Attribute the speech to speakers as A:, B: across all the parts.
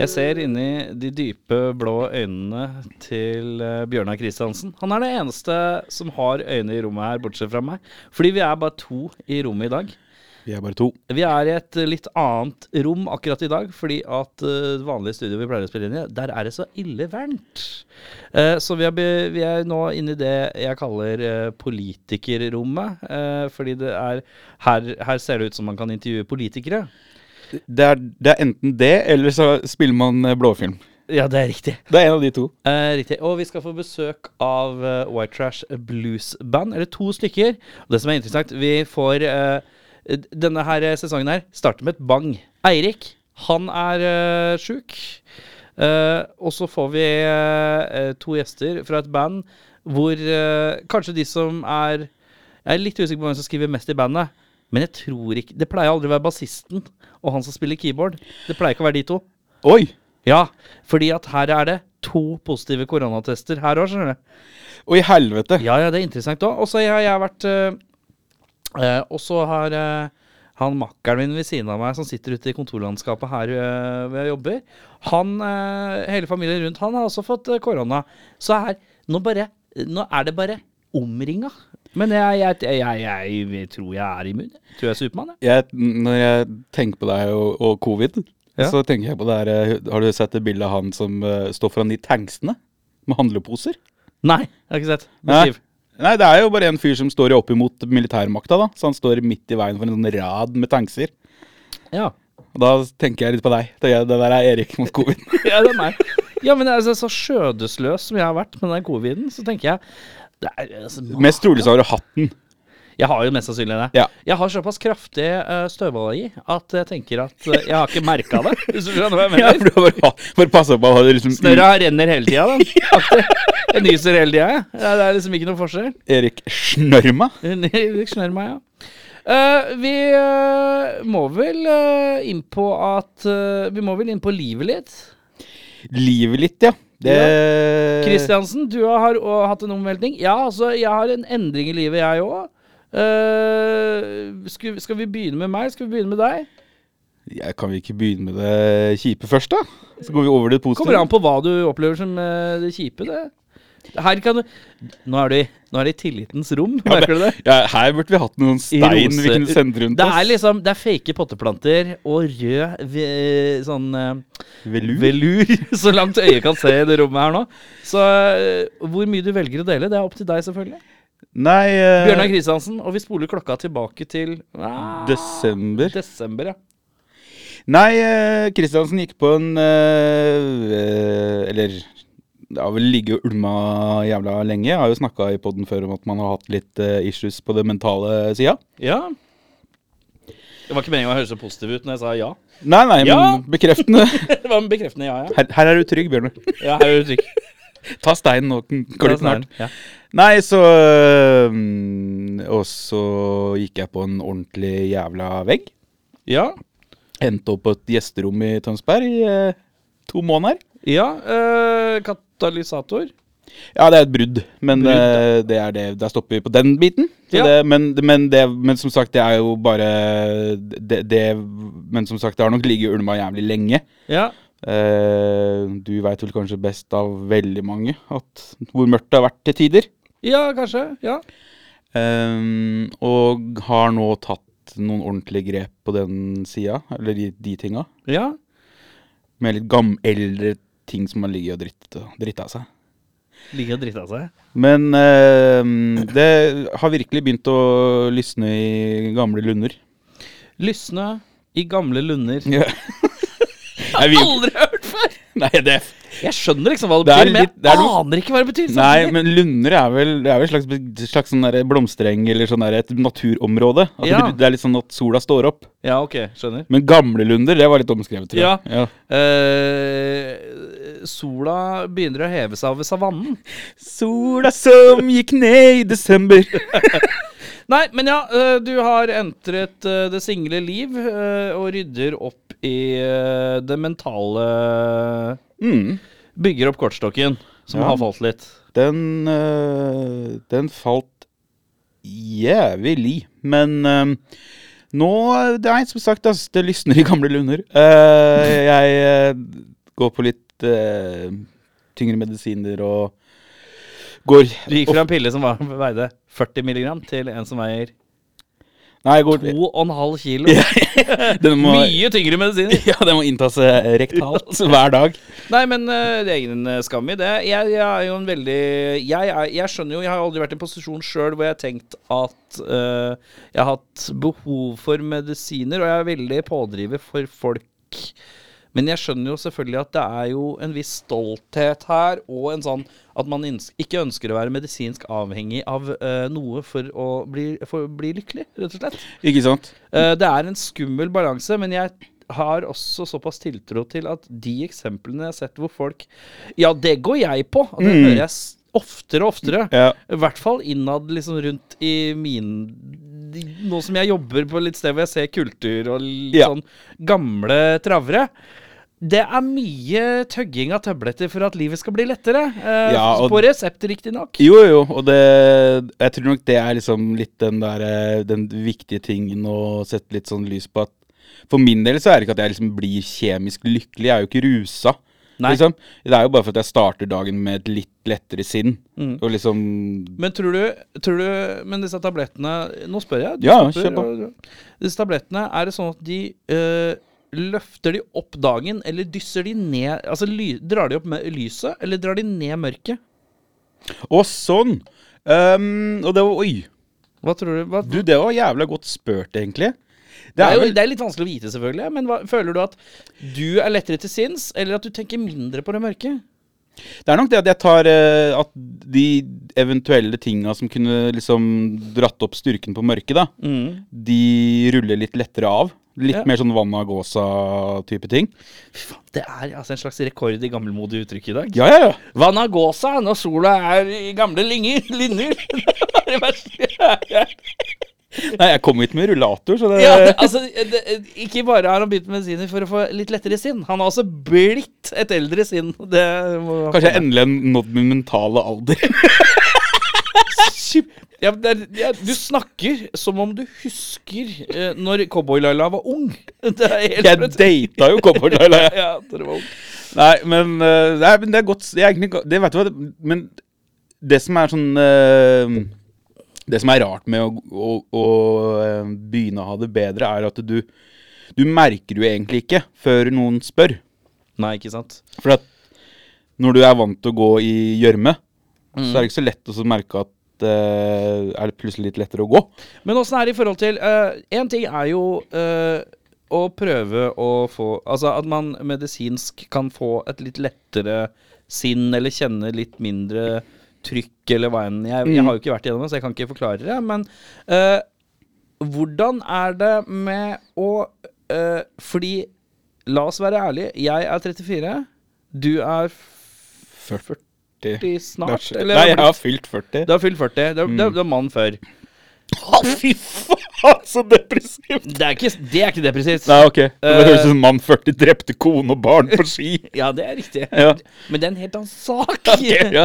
A: Jeg ser inni de dype blå øynene til eh, Bjørnar Kristiansen. Han er det eneste som har øyne i rommet her, bortsett fra meg. Fordi vi er bare to i rommet i dag.
B: Vi er bare to.
A: Vi er i et eh, litt annet rom akkurat i dag, fordi at eh, det vanlige studioet vi pleier å spille inn i, der er det så ille varmt. Eh, så vi er, be- vi er nå inne i det jeg kaller eh, politikerrommet, eh, fordi det er her, her ser det ut som man kan intervjue politikere.
B: Det er, det er enten det, eller så spiller man eh, blåfilm.
A: Ja, det er riktig.
B: Det er en av de to.
A: Eh, riktig. Og vi skal få besøk av eh, White Trash Blues Band, eller to stykker. Og det som er interessant, vi får eh, d- Denne her eh, sesongen her starter med et bang. Eirik, han er uh, sjuk. Eh, og så får vi eh, eh, to gjester fra et band hvor eh, kanskje de som er Jeg er litt usikker på hvem som skriver mest i bandet. Men jeg tror ikke Det pleier aldri å være bassisten og han som spiller keyboard. Det pleier ikke å være de to.
B: Oi!
A: Ja, fordi at her er det to positive koronatester her òg, skjønner du.
B: Og i helvete!
A: Ja, ja, det er interessant òg. Og så har jeg vært eh, eh, Og så har eh, han makkeren min ved siden av meg som sitter ute i kontorlandskapet her eh, hvor jeg jobber, han eh, Hele familien rundt han har også fått eh, korona. Så her Nå bare Nå er det bare omringa. Men jeg, jeg, jeg, jeg, jeg tror jeg er immun. Jeg tror jeg er Supermann, jeg.
B: Jeg, når jeg tenker på deg og, og covid,
A: Ja.
B: så tenker jeg på det her eh, Har du sett det bildet av han som eh, står foran de tanksene med handleposer?
A: Nei, jeg har ikke sett.
B: Nei.
A: Beskriv.
B: Nei, det er jo bare en fyr som står opp imot militærmakta, da. Så han står midt i veien for en sånn rad med tankser.
A: Ja.
B: Og da tenker jeg litt på deg. Det, det der er Erik mot covid.
A: Ja, det er meg. Ja, men altså, så skjødesløs som jeg har vært med den coviden, så tenker jeg det er, altså,
B: Mest trolig så har du hatt den.
A: Jeg har jo mest sannsynlig det.
B: Ja.
A: Jeg har såpass kraftig uh, støvallergi at jeg tenker at eh, jeg har ikke merka det. Hvis du skjønner hva jeg
B: Ja,
A: mener?
B: for du har bare, hatt- bare passa på at du liksom
A: Snørra renner hele tida, da. Aktig. Jeg nyser hele tida, jeg. Ja, Det er liksom ikke noe forskjell.
B: Erik Snørma.
A: Det skjønner meg, ja. Eh, vi eh, må vel eh, inn på at eh, Vi må vel inn på livet litt.
B: Livet litt, ja. Det
A: Eh, Kristiansen, du har også hatt en omveltning. Ja, altså, jeg har en endring i livet, jeg òg. skal, skal vi begynne med meg? Skal vi begynne med deg?
B: Ja, kan vi ikke begynne med det kjipe først, da? Så går vi over til det positive.
A: Kommer an på hva du opplever som eh, det kjipe, det. Her kan du Nå er du i, nå er det i tillitens rom, merker du det?
B: Ja, her burde vi hatt noen
A: I
B: stein vi
A: rose-
B: kunne sende rundt
A: Det er
B: oss.
A: liksom Det er fake potteplanter og rød ve- sånn eh,
B: Velur.
A: velur så langt øyet kan se i det rommet her nå. Så eh, hvor mye du velger å dele, det er opp til deg, selvfølgelig.
B: Nei eh,
A: Bjørnar Kristiansen, og vi spoler klokka tilbake til ah,
B: Desember.
A: desember. ja.
B: Nei, eh, Kristiansen gikk på en eh, eh, Eller det har vel ligget og ulma jævla lenge. Jeg har jo snakka i poden før om at man har hatt litt eh, issues på det mentale sida.
A: ja. Det var ikke meningen å høres så positiv ut når jeg sa ja.
B: Nei, nei,
A: Ja.
B: men bekreftende.
A: Det var en bekreftende ja, ja.
B: Her, her er du trygg, Bjørnar.
A: Ja, her er du trygg.
B: Ta steinen og klipp den hardt.
A: Ja.
B: Nei, så øhm, Og så gikk jeg på en ordentlig jævla vegg.
A: Ja.
B: Endte opp på et gjesterom i Tønsberg i eh, to måneder.
A: ja eh, katalysator.
B: Ja, det er et brudd, men
A: Brudd,
B: eh, det er det. Der stopper vi på den biten. Så
A: Ja.
B: Det, men, men, det, men som sagt, det er jo bare det, det, Men som sagt, det har nok ligget ulma jævlig lenge.
A: Ja.
B: Eh, du veit vel kanskje best av veldig mange at hvor mørkt det har vært til tider.
A: ja, kanskje. Ja.
B: Ehm, og har nå tatt noen ordentlige grep på den sida, eller de, de tinga.
A: ja.
B: Med litt gam eldre ting som man ligger og dritter dritt av seg.
A: Ligger og drita seg.
B: Men ehm, det har virkelig begynt å lysne i gamle lunder.
A: Lysne i gamle lunder.
B: Ja. Nei, vi,
A: Aldri hørt før!
B: nei, det,
A: Jeg skjønner liksom hva det
B: Det er
A: betyr, men jeg
B: litt- det er noe-
A: aner ikke hva det betyr.
B: nei,
A: samtidig.
B: men lunder er vel, det er vel et slags, et slags sånn derre blomstereng eller sånn derre et naturområde. At det,
A: Ja.
B: blir- det er litt sånn at sola står opp.
A: Ja, ok, skjønner.
B: Men gamle lunder, det var litt omskrevet, tror jeg.
A: Ja. Eh, sola begynner å heve seg over savannen.
B: Sola som gikk ned i desember.
A: Nei, men ja, eh, du har entret eh, det single liv eh, og rydder opp i eh, det mentale
B: Mm.
A: Bygger opp kortstokken, som
B: Ja.
A: har falt litt.
B: Den, øh, den falt jævlig. Men øh, nå Det er som sagt, ass, det lysner i gamle lunder. Eh, jeg øh, Går på litt eh, tyngre medisiner og går
A: Du gikk fra en pille som var, veide 40 mg, til en som veier
B: Nei, jeg går
A: 2,5 kilo.
B: den må,
A: Mye tyngre medisiner.
B: ja, den må inntas eh, rektalt hver dag.
A: Nei, men eh, det er ingen eh, skam i det. Jeg, jeg er jo en veldig jeg, er, jeg skjønner jo Jeg har aldri vært i en posisjon sjøl hvor jeg har tenkt at eh, jeg har hatt behov for medisiner, og jeg er veldig pådriver for folk. Men jeg skjønner jo selvfølgelig at det er jo en viss stolthet her, og en sånn at man inns- ikke ønsker å være medisinsk avhengig av eh, noe for å bli, for å bli lykkelig, rett og slett.
B: Ikke sant?
A: Eh, Det er en skummel balanse, men jeg har også såpass tiltro til at de eksemplene jeg har sett hvor folk Ja, det går jeg på! Og det hører jeg s- oftere og oftere.
B: Mm. Ja.
A: I hvert fall innad liksom rundt i min de- Nå som jeg jobber på litt sted hvor jeg ser kultur og litt
B: Ja.
A: sånn gamle travere. Det er mye tøgging av tøbletter for at livet skal bli lettere. Eh,
B: Ja, og-
A: på resepter, riktignok.
B: Jo, jo, og det Jeg tror nok det er liksom litt den der eh, Den viktige tingen å sette litt sånn lys på at For min del så er det ikke at jeg liksom blir kjemisk lykkelig. Jeg er jo ikke rusa.
A: Nei.
B: Liksom. Det er jo bare for at jeg starter dagen med et litt lettere sinn.
A: Mm.
B: Og liksom
A: Men tror du, tror du Men disse tablettene Nå spør jeg. du
B: Ja,
A: stopper,
B: kjør på.
A: og- Disse tablettene, er det sånn at de eh, Løfter de opp dagen, eller dysser de ned Altså ly, drar de opp med lyset, eller drar de ned mørket?
B: Å, sånn! Ehm, og det var Oi!
A: Hva tror du? Hva,
B: Du, det var jævla godt spurt, egentlig.
A: det, er jo,
B: vel
A: det er litt vanskelig å vite, selvfølgelig, men hva, føler du at du er lettere til sinns, eller at du tenker mindre på det mørke?
B: Det er nok det at jeg tar eh, At de eventuelle tinga som kunne liksom dratt opp styrken på mørket, da, de ruller litt lettere av. Litt
A: Ja.
B: mer sånn vann av gåsa-type ting.
A: Fy faen, det er altså en slags rekord i gammelmodig uttrykk i dag.
B: Ja, ja, ja.
A: Vanagosa når sola er i gamle lynger. linjer. Det er det verste jeg er.
B: Nei, jeg kom hit med rullator, så det
A: Ja, altså, det, ikke bare har han begynt med medisiner for å få litt lettere sinn, han har også blitt et eldre sinn. Det må han
B: Kanskje jeg
A: få med.
B: endelig har nådd min mentale alder.
A: ja, men det er, ja, Du snakker som om du husker eh, når Cowboy-Laila var ung. Det er helt
B: Jeg data jo Cowboy-Laila. jeg.
A: Ja, det var ung.
B: Nei, men eh, nei, men det er godt Det er egentlig go- det, vet du hva, det- Men det som er sånn eh, Det som er rart med å, å, å eh, begynne å ha det bedre, er at du Du merker jo egentlig ikke før noen spør.
A: Nei, ikke sant?
B: For at når du er vant til å gå i gjørme, så er det ikke så lett å så merke at eh, Er det plutselig litt lettere å gå?
A: Men åssen er det i forhold til Én ting er jo eh, å prøve å få Altså at man medisinsk kan få et litt lettere sinn, eller kjenne litt mindre trykk, eller hva enn. Jeg, jeg har jo ikke vært gjennom det, så jeg kan ikke forklare det. Men eh, hvordan er det med å eh, Fordi, la oss være ærlige, jeg er 34, du er 40 snart? eller
B: Nei,
A: har
B: jeg
A: blitt-
B: har fylt 40.
A: du har fylt 40. Du er, du er, du er mann før.
B: Å, fy faen, så depressivt!
A: Det er ikke, det er ikke depressivt.
B: Nei, ok. Det høres ut som mann 40 drepte kone og barn på ski.
A: Ja, det er riktig.
B: Ja.
A: Men det er en helt annen sak.
B: Ok, ja.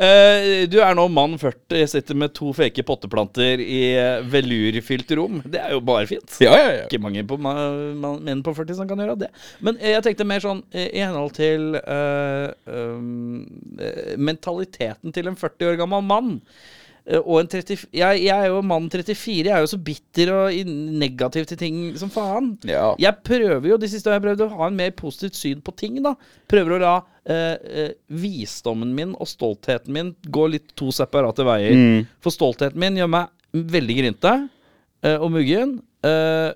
A: Eh, du er nå mann 40, sitter med to feke potteplanter i eh, velurfylt rom. Det er jo bare fint.
B: Ja, ja, ja.
A: Ikke mange på, ma- man- menn på 40 som kan gjøre det. Men eh, jeg tenkte mer sånn eh, i henhold til eh, um, eh, mentaliteten til en 40 år gammel mann. eh, Og en 30, jeg, jeg er jo mann 34, jeg er jo så bitter og i- negativ til ting som faen.
B: Ja.
A: Jeg prøver jo de siste årene, jeg prøvde å ha en mer positivt syn på ting. da Prøver å la eh, eh, visdommen min og stoltheten min gå litt to separate veier.
B: Mm.
A: For stoltheten min gjør meg veldig grinte eh, og muggen. eh,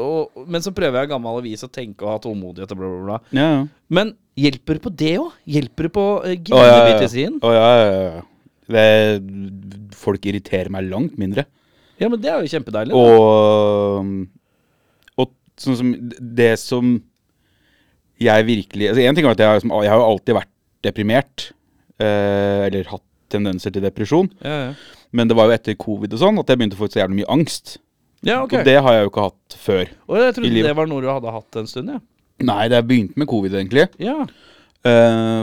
A: og, men så prøver jeg gammel avis å tenke og ha tålmodighet og bla, bla, bla.
B: Ja, ja.
A: Men hjelper det på det òg? Hjelper det på uh,
B: Å, ja, ja.
A: grinebitesien?
B: Å, ja, ja, ja. Det, folk irriterer meg langt mindre.
A: Ja, men det er jo kjempedeilig. da.
B: Og, og sånn som det som jeg virkelig altså En ting er at jeg, har liksom, jeg har jo alltid vært deprimert. eh, eller hatt tendenser til depresjon.
A: Ja, ja.
B: Men det var jo etter covid og sånn at jeg begynte å få så jævlig mye angst.
A: ja, ok.
B: Og det har jeg jo ikke hatt før.
A: og jeg
B: i
A: trodde
B: livet.
A: det var noe du hadde hatt en stund, ja.
B: Nei, det begynte med covid, egentlig.
A: ja.
B: Eh, I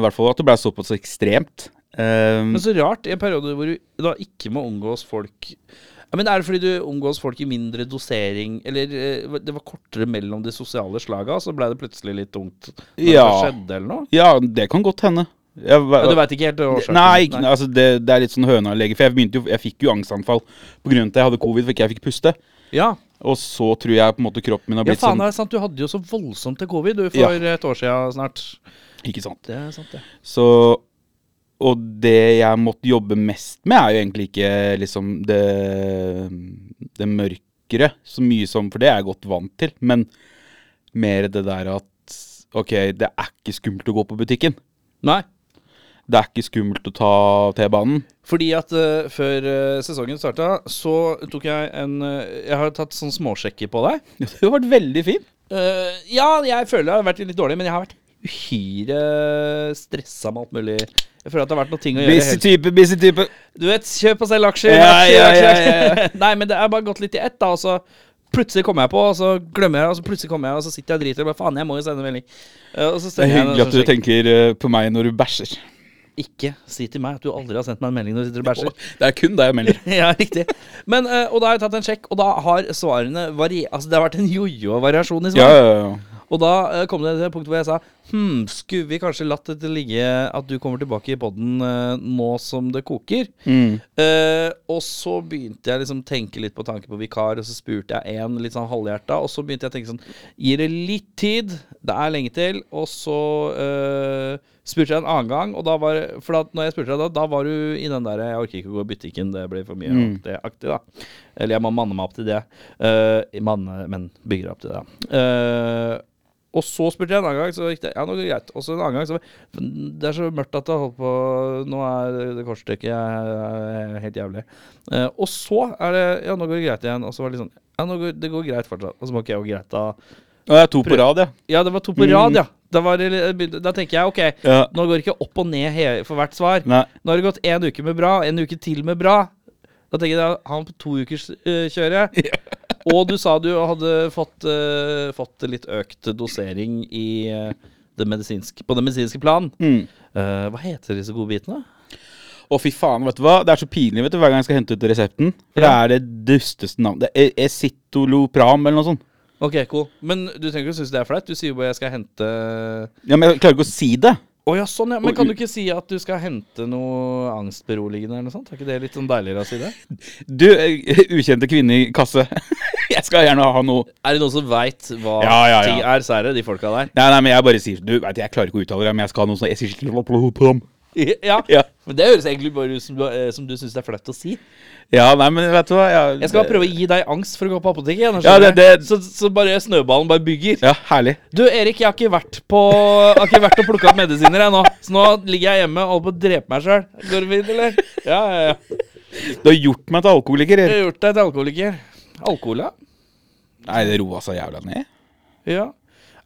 B: hvert fall at det ble såpass ekstremt. Eh,
A: Men så rart, i en periode hvor du da ikke må omgås folk Ja, men er det fordi du omgås folk i mindre dosering, eller eh, det var kortere mellom de sosiale slaga, og så ble det plutselig litt tungt når
B: Ja.
A: det skjedde, eller noe?
B: Ja, det kan godt hende. Jeg,
A: Ja, du veit ikke helt årsaken?
B: Nei, ikke, Altså, det, det er litt sånn høna og lege. For jeg, begynte jo, jeg fikk jo angstanfall pga. at jeg hadde covid for ikke jeg fikk puste.
A: Ja.
B: Og så tror jeg på en måte kroppen min har
A: ja,
B: blitt sånn-
A: faen, det er sant. Du hadde jo så voldsomt til covid du, for et år siden snart.
B: sånn Ikke sant.
A: Det er sant, det.
B: Så Og det jeg måtte jobbe mest med, er jo egentlig ikke liksom det, det mørkere så mye som For det er jeg godt vant til, men mer det der at OK, det er ikke skummelt å gå på butikken.
A: Nei.
B: Det er ikke skummelt å ta T-banen.
A: Fordi at eh, før eh, sesongen starta, så tok jeg en eh, Jeg har tatt sånn småsjekker på deg.
B: Det har vært veldig fint.
A: Eh, ja, jeg føler jeg har vært litt dårlig, men jeg har vært uhyre stressa med alt mulig. Jeg føler at det har vært noe ting å gjøre. hele
B: Busy type, busy type.
A: Du vet, kjøp og selg aksjer.
B: Ja,
A: aksjer,
B: ja,
A: aksjer,
B: ja, ja,
A: aksjer. Nei, men det er bare gått litt i ett, da. Og så plutselig kommer jeg på, og så glemmer jeg, og så plutselig kommer jeg, og så sitter jeg og driter. Og bare, faen, jeg må jo sende melding. Eh, Og så
B: Det er
A: sender jeg en
B: hyggelig at
A: sånn
B: du
A: sjekk.
B: tenker eh, på meg når du bæsjer.
A: Ikke si til meg at du aldri har sendt meg en melding når du sitter og bæsjer.
B: Det er kun deg jeg melder.
A: Ja, riktig. Men, eh, og da har jeg tatt en sjekk, og da har svarene vari... Altså, det har vært en jojo-variasjon i
B: Ja,
A: svaret.
B: ja, ja.
A: Og da eh, kom det til et punkt hvor jeg sa Hm, skulle vi kanskje latt det ligge at du kommer tilbake i poden nå som det koker?
B: Mm.
A: Eh, og så begynte jeg liksom tenke litt på tanke på vikar, og så spurte jeg en litt sånn halvhjerta. Og så begynte jeg å tenke sånn Gir det litt tid? Det er lenge til. Og så eh, spurte jeg en annen gang, og da var For da når jeg spurte deg da, da var du i den der 'jeg orker ikke å gå i butikken, det ble for mye'
B: Mm.
A: det aktig, da. Eller jeg må manne meg opp til det. Eh, manne, men bygger opp til det. Eh, og så spurte jeg en annen gang, så gikk det ja, nå går det greit. Og så en annen gang, så Det er så mørkt at det har holdt på Nå er det kortstykket jeg er helt jævlig. Eh, og så er det Ja, nå går det greit igjen. Og så var det litt sånn Ja, nå går, det går greit fortsatt. Og så må ikke jeg gå greit, da.
B: Ja, Det er to på rad, ja.
A: Ja, det var to på
B: Mm.
A: rad, ja. Da, var det, begynte- da tenker jeg OK,
B: ja.
A: nå går det ikke opp og ned he- for hvert svar.
B: Nei.
A: Nå har det gått én uke med bra, en uke til med bra. Da tenker jeg da, han på to ukers eh, kjøre. Og du sa du hadde fått, eh, fått litt økt dosering i, eh, det medisinske, på det medisinske plan.
B: Mm.
A: Eh, hva heter disse godbitene?
B: Å, fy faen, vet du hva? Det er så pinlig vet du, hver gang jeg skal hente ut resepten. For
A: Ja.
B: det er det dusteste navnet. Det er Esitolopram eller noe sånt.
A: Ok, cool. Men du trenger ikke å synes det er flaut. Du sier jo bare 'jeg skal hente' Å
B: Ja, Men jeg klarer ikke å si det.
A: ja, sånn, ja. Men kan du ikke si at du skal hente noe angstberoligende eller noe sånt? Er ikke det litt sånn deiligere å si det?
B: Du, eh, ukjente kvinne i kasse. jeg skal gjerne ha noe
A: Er det noen som veit hva
B: Ja, ja, ja.
A: ting er, så er det de folka der.
B: Nei, nei, men jeg bare sier Du, vet du, jeg klarer ikke å uttale det, men jeg skal ha noe sånn Esitolopram.
A: Ja.
B: Ja.
A: Men det høres egentlig bare ut som du, eh, som du syns det er flaut å si.
B: ja, nei, men vet du hva? Jeg,
A: Jeg skal bare prøve å gi deg angst for å gå på apoteket. igjen,
B: Ja,
A: skjønner
B: det- det-
A: du? Så, så bare snøballen bare bygger.
B: Ja, herlig.
A: Du, Erik, jeg har ikke vært på Jeg har ikke vært og plukka opp medisiner, jeg nå. Så nå ligger jeg hjemme og holder på å drepe meg sjøl. Går det fint, eller? Ja, ja, ja.
B: Du har gjort meg til alkoholiker.
A: Jeg
B: eller?
A: har gjort deg til alkoholiker. Alkohol, ja.
B: Nei, det roa seg jævla ned.
A: ja.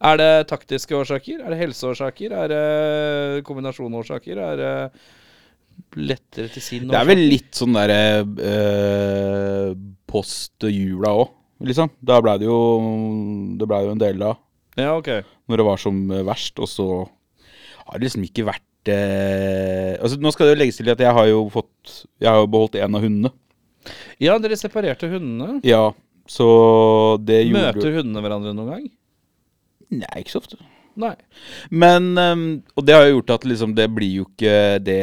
A: Er det taktiske årsaker? Er det helseårsaker? Er det kombinasjonårsaker? Er det lettere til sinn?
B: Det er
A: årsaker?
B: vel litt sånn derre eh, post jula òg, liksom. Da blei det jo Det blei jo en del da,
A: sånn? Ja, ok.
B: når det var som verst, og så har det liksom ikke vært eh, Altså, nå skal det jo legges til at jeg har jo fått Jeg har jo beholdt en av hundene.
A: Ja, dere separerte hundene.
B: Ja, så det gjorde
A: Møter hundene hverandre noen gang?
B: Nei, ikke så ofte.
A: Nei.
B: Men ehm, Og det har jo gjort at liksom det blir jo ikke det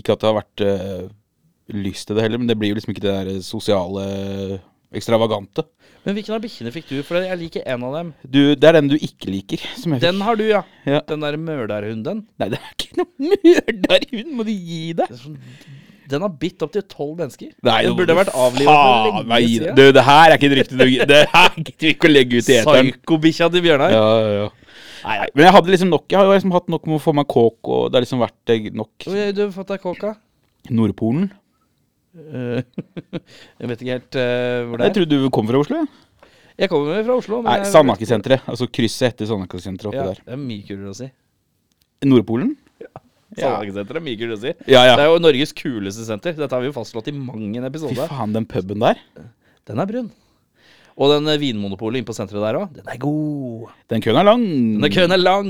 B: Ikke at det har vært eh, lyst til det heller, men det blir jo liksom ikke det der sosiale ekstravagante.
A: Men hvilken av bikkjene fikk du? For jeg liker en av dem.
B: Du, det er den du ikke liker. Som jeg fikk.
A: Den har du, ja.
B: Ja.
A: Den der mølerhunden.
B: Nei, det er ikke noe mørdarhund! Må du gi deg?
A: Det er sånn- Den har bitt opptil tolv mennesker.
B: Nei,
A: den
B: nå må
A: burde
B: du
A: vært avlivet for
B: faen meg gi
A: lenge
B: deg.
A: siden.
B: Du, det her er ikke et rykte du Det her gidder vi ikke å legge ut i eteren.
A: Psykobikkja til Bjørnar.
B: Ja, ja, ja.
A: Nei, nei.
B: Men jeg hadde liksom nok Jeg har jo liksom hatt nok med å få meg kåk, og det har liksom vært eh, nok
A: Hvor har Du fått deg kåka?
B: Nordpolen.
A: Eh, jeg vet ikke helt eh, hvor det
B: Jeg
A: er.
B: trodde du kom fra Oslo? ja.
A: Jeg kommer jo fra Oslo. men
B: Nei,
A: jeg-
B: Sandakesenteret. Altså krysset etter Sandakesenteret oppi
A: Ja,
B: der.
A: det er mye kulere å si.
B: Nordpolen? Ja.
A: Sandakesenteret er mye kulere å si.
B: Ja,
A: Det
B: ja.
A: er jo Norges kuleste senter. Dette har vi jo fastslått i mang en
B: Fy
A: episode.
B: faen, den puben der.
A: Den er brun. Og den eh, vinmonopolet inne på senteret der òg, den er god.
B: Den køen er lang.
A: Denne køen er lang.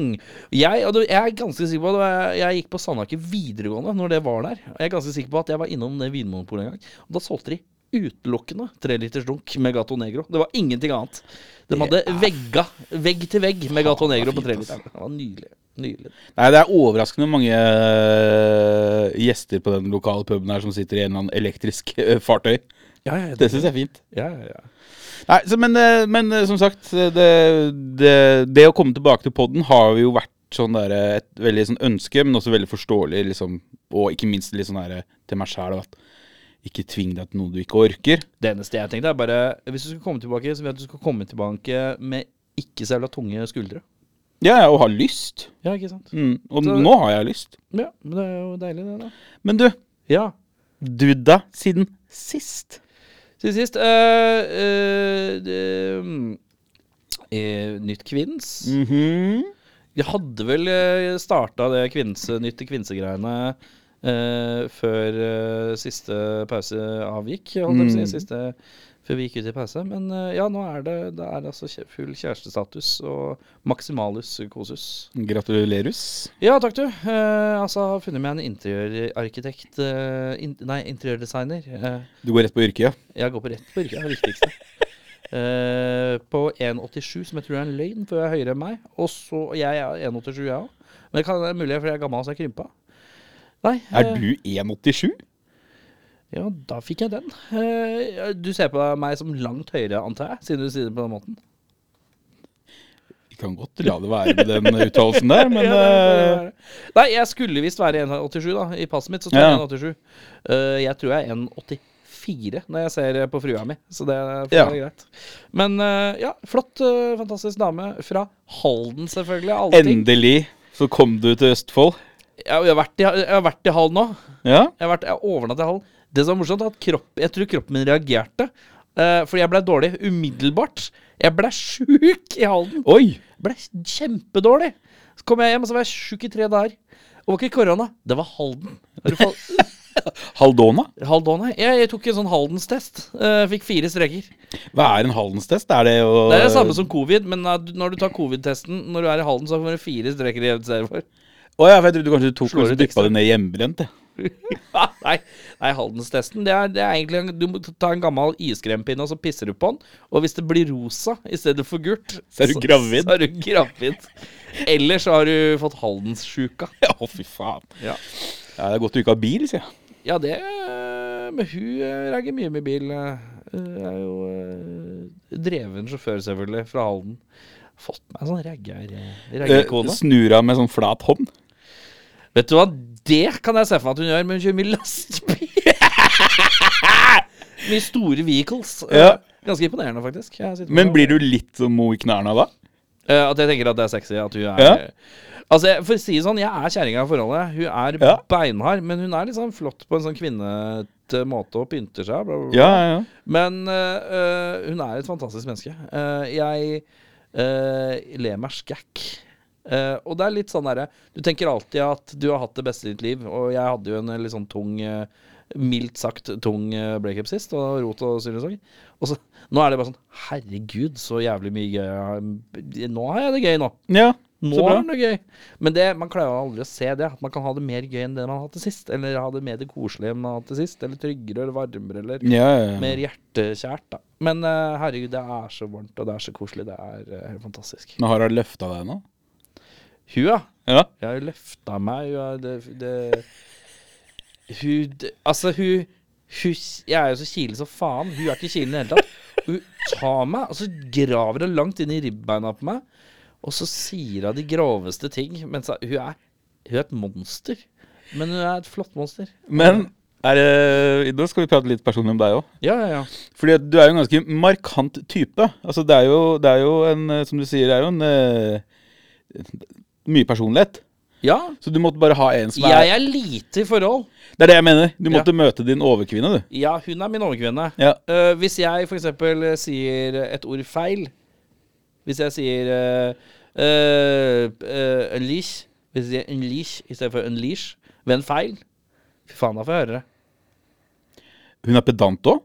A: Jeg, og du, jeg er ganske sikker på at det var- jeg gikk på Sandaker videregående når det var der. Og jeg er ganske sikker på at jeg var innom det Vinmonopolet en gang. Og da solgte de utelukkende treliters dunk med Gato Negro. Det var ingenting annet. De hadde vegga, vegg til vegg med Gato Negro på
B: fint, ass.
A: treliteren. Det altså. var nydelig. Nydelig.
B: Nei, det er overraskende mange øh, gjester på den lokale puben her som sitter i en eller annen elektrisk øh, fartøy.
A: Ja, ja,
B: Det syns jeg er fint.
A: ja, ja, ja.
B: Nei, så, men, øh, men øh, som sagt, det, det, det å komme tilbake til podden har jo vært sånn der, øh, et veldig sånn ønske, men også veldig forståelig, liksom, og ikke minst litt sånn der, øh, til meg sjæl at ikke tving deg til noe du ikke orker.
A: Det eneste jeg tenkte, er bare Hvis du skulle komme tilbake, så vet jeg at du skulle komme tilbake med ikke så jævla tunge skuldre.
B: Ja, ja, og ha lyst.
A: Ja, ikke sant?
B: Mm, og
A: Så-
B: nå har jeg lyst.
A: Ja, men det er jo deilig, det, da.
B: Men du,
A: Ja.
B: dudda siden sist.
A: Siden sist eh, eh, det- eh, Nytt Kvinns.
B: Mm. Mhm.
A: Vi hadde vel starta det kvinse, nytt til kvinsegreiene eh, før eh, siste pause avgikk. Holdt jeg på å
B: Mm.
A: si, siste, før vi gikk ut i pause. Men eh, ja, nå er det, det er altså kje- full kjærestestatus og maksimalus kosus.
B: Gratulerer.
A: Ja, takk du. Eh, altså, har funnet meg en interiørarkitekt eh, in, Nei, interiørdesigner. Eh,
B: Du går rett på yrket?
A: jeg går på rett på yrket, det er det viktigste. Eh, på 1,87, som jeg tror er en løgn, for jeg er høyere enn meg. Og så, Jeg er 1,87, jeg òg. Men det kan være mulig, for jeg er gammel så jeg krympa. Nei,
B: Er
A: eh,
B: du 1,87?
A: ja, da fikk jeg den. Eh, du ser på meg som langt høyere, antar jeg, siden du sier det på den måten.
B: Vi kan godt la det være med den uttalelsen der, men
A: Ja, det er- det
B: eh,
A: er- Nei, jeg skulle visst være 1,87, da. I passet mitt så står
B: Ja.
A: jeg 1,87. Eh, jeg tror jeg er 1,84 når jeg ser eh, på frua mi, så det er for
B: Ja.
A: meg er greit. Men eh, ja, flott, eh, fantastisk dame fra Halden, selvfølgelig. av Alle ting.
B: endelig så kom du til Østfold.
A: Jeg, jeg, har vært i, jeg har vært i Halden nå.
B: Ja?
A: Jeg har vært, jeg har overnattet i Halden. Det som er morsomt, er at kropp, jeg tror kroppen min reagerte. eh, fordi jeg blei dårlig umiddelbart. Jeg blei sjuk i Halden.
B: Oi!
A: Ble kjempedårlig. Så kom jeg hjem, og så var jeg sjuk i tre dager. Og det var ikke korona, det var Halden. Er du fal-
B: Haldona?
A: Haldon, nei. jeg, jeg tok en sånn Haldenstest. eh, fikk fire streker.
B: Hva er en Haldenstest? Er det jo
A: Det er det samme som covid, men at du- når du tar covid-testen når du er i Halden, så får du fire streker i stedet for.
B: Å ja, for jeg trodde kanskje du tok
A: Slår ut
B: og
A: ekstra.
B: dyppa det ned i hjemmebrent. jeg.
A: Ah, nei, nei Haldenstesten det er, det er egentlig en, Du må ta en gammel iskrempinne, og så pisser du på den. Og hvis det blir rosa i stedet for gult,
B: Så er du gravid.
A: Så, så er du gravid. Eller så har du fått Haldenssjuka.
B: Ja, Å, fy faen.
A: Ja.
B: Ja, det er godt du ikke har bil, sier jeg.
A: Ja, det Men hun eh, reiker mye med bil. eh. Hun er jo eh, dreven sjåfør, selvfølgelig, fra Halden. Fått meg en sånn ragger-
B: Eh,
A: raggerkone.
B: Snur av med sånn flat hånd.
A: Vet du hva, det kan jeg se for meg at hun gjør, men hun kjører mye lastebil. mye store vehicles. Eh,
B: Ja.
A: Ganske imponerende, faktisk. Jeg sitter på
B: Men
A: det.
B: blir du litt sånn mo i knærne da?
A: Eh, at jeg tenker at det er sexy. At hun er
B: Ja.
A: Altså, jeg- For å si det sånn, jeg er kjerringa i forholdet. Hun er
B: Ja.
A: beinhard, men hun er liksom flott på en sånn kvinnete måte og pynter seg. Bla, bla, bla.
B: Ja, ja, ja.
A: Men øh, øh, hun er et fantastisk menneske. Eh, jeg øh, ler meg skækk. Eh, og det er litt sånn derre Du tenker alltid at du har hatt det beste i ditt liv, og jeg hadde jo en litt sånn tung eh, Mildt sagt tung eh, breakup sist, og rot og syresorg. Og så, nå er det bare sånn Herregud, så jævlig mye gøy jeg har Nå har jeg det gøy, nå.
B: ja.
A: Nå
B: Så bra.
A: er det gøy. Men det, man klarer jo aldri å se det. At man kan ha det mer gøy enn det man hadde sist. Eller ha det mer det koselige enn man hadde sist. Eller tryggere eller varmere. Eller
B: Ja, ja, ja.
A: mer hjertekjært, da. Men eh, herregud, det er så varmt, og det er så koselig. Det er eh, helt fantastisk.
B: Men har hun løfta deg nå?
A: Hun, ja.
B: Ja.
A: Jeg har jo løfta meg. Hun er det, det Hun det, Altså, hun, hun Jeg er jo så kilen som faen. Hun er ikke kilen i det hele tatt. Hun tar meg, og så graver hun langt inn i ribbeina på meg. Og så sier hun de groveste ting. Mens hun er, hun er et monster. Men hun er et flott monster.
B: Men er det, nå skal vi prate litt personlig om deg òg.
A: Ja, ja, ja.
B: Fordi at du er jo en ganske markant type. Altså det er jo, det er jo en, eh, som du sier, det er jo en eh, mye personlighet.
A: Ja,
B: Så du måtte bare ha en som er
A: jeg er lite i forhold.
B: Det er det jeg mener. Du
A: Ja.
B: måtte møte din overkvinne, du.
A: Ja, hun er min overkvinne.
B: Ja.
A: Eh, hvis jeg f.eks. sier et ord feil Hvis jeg sier uh, unleash Hvis jeg sier unleash istedenfor unleash ved en feil Fy faen, da får jeg høre det.
B: Hun er pedant òg?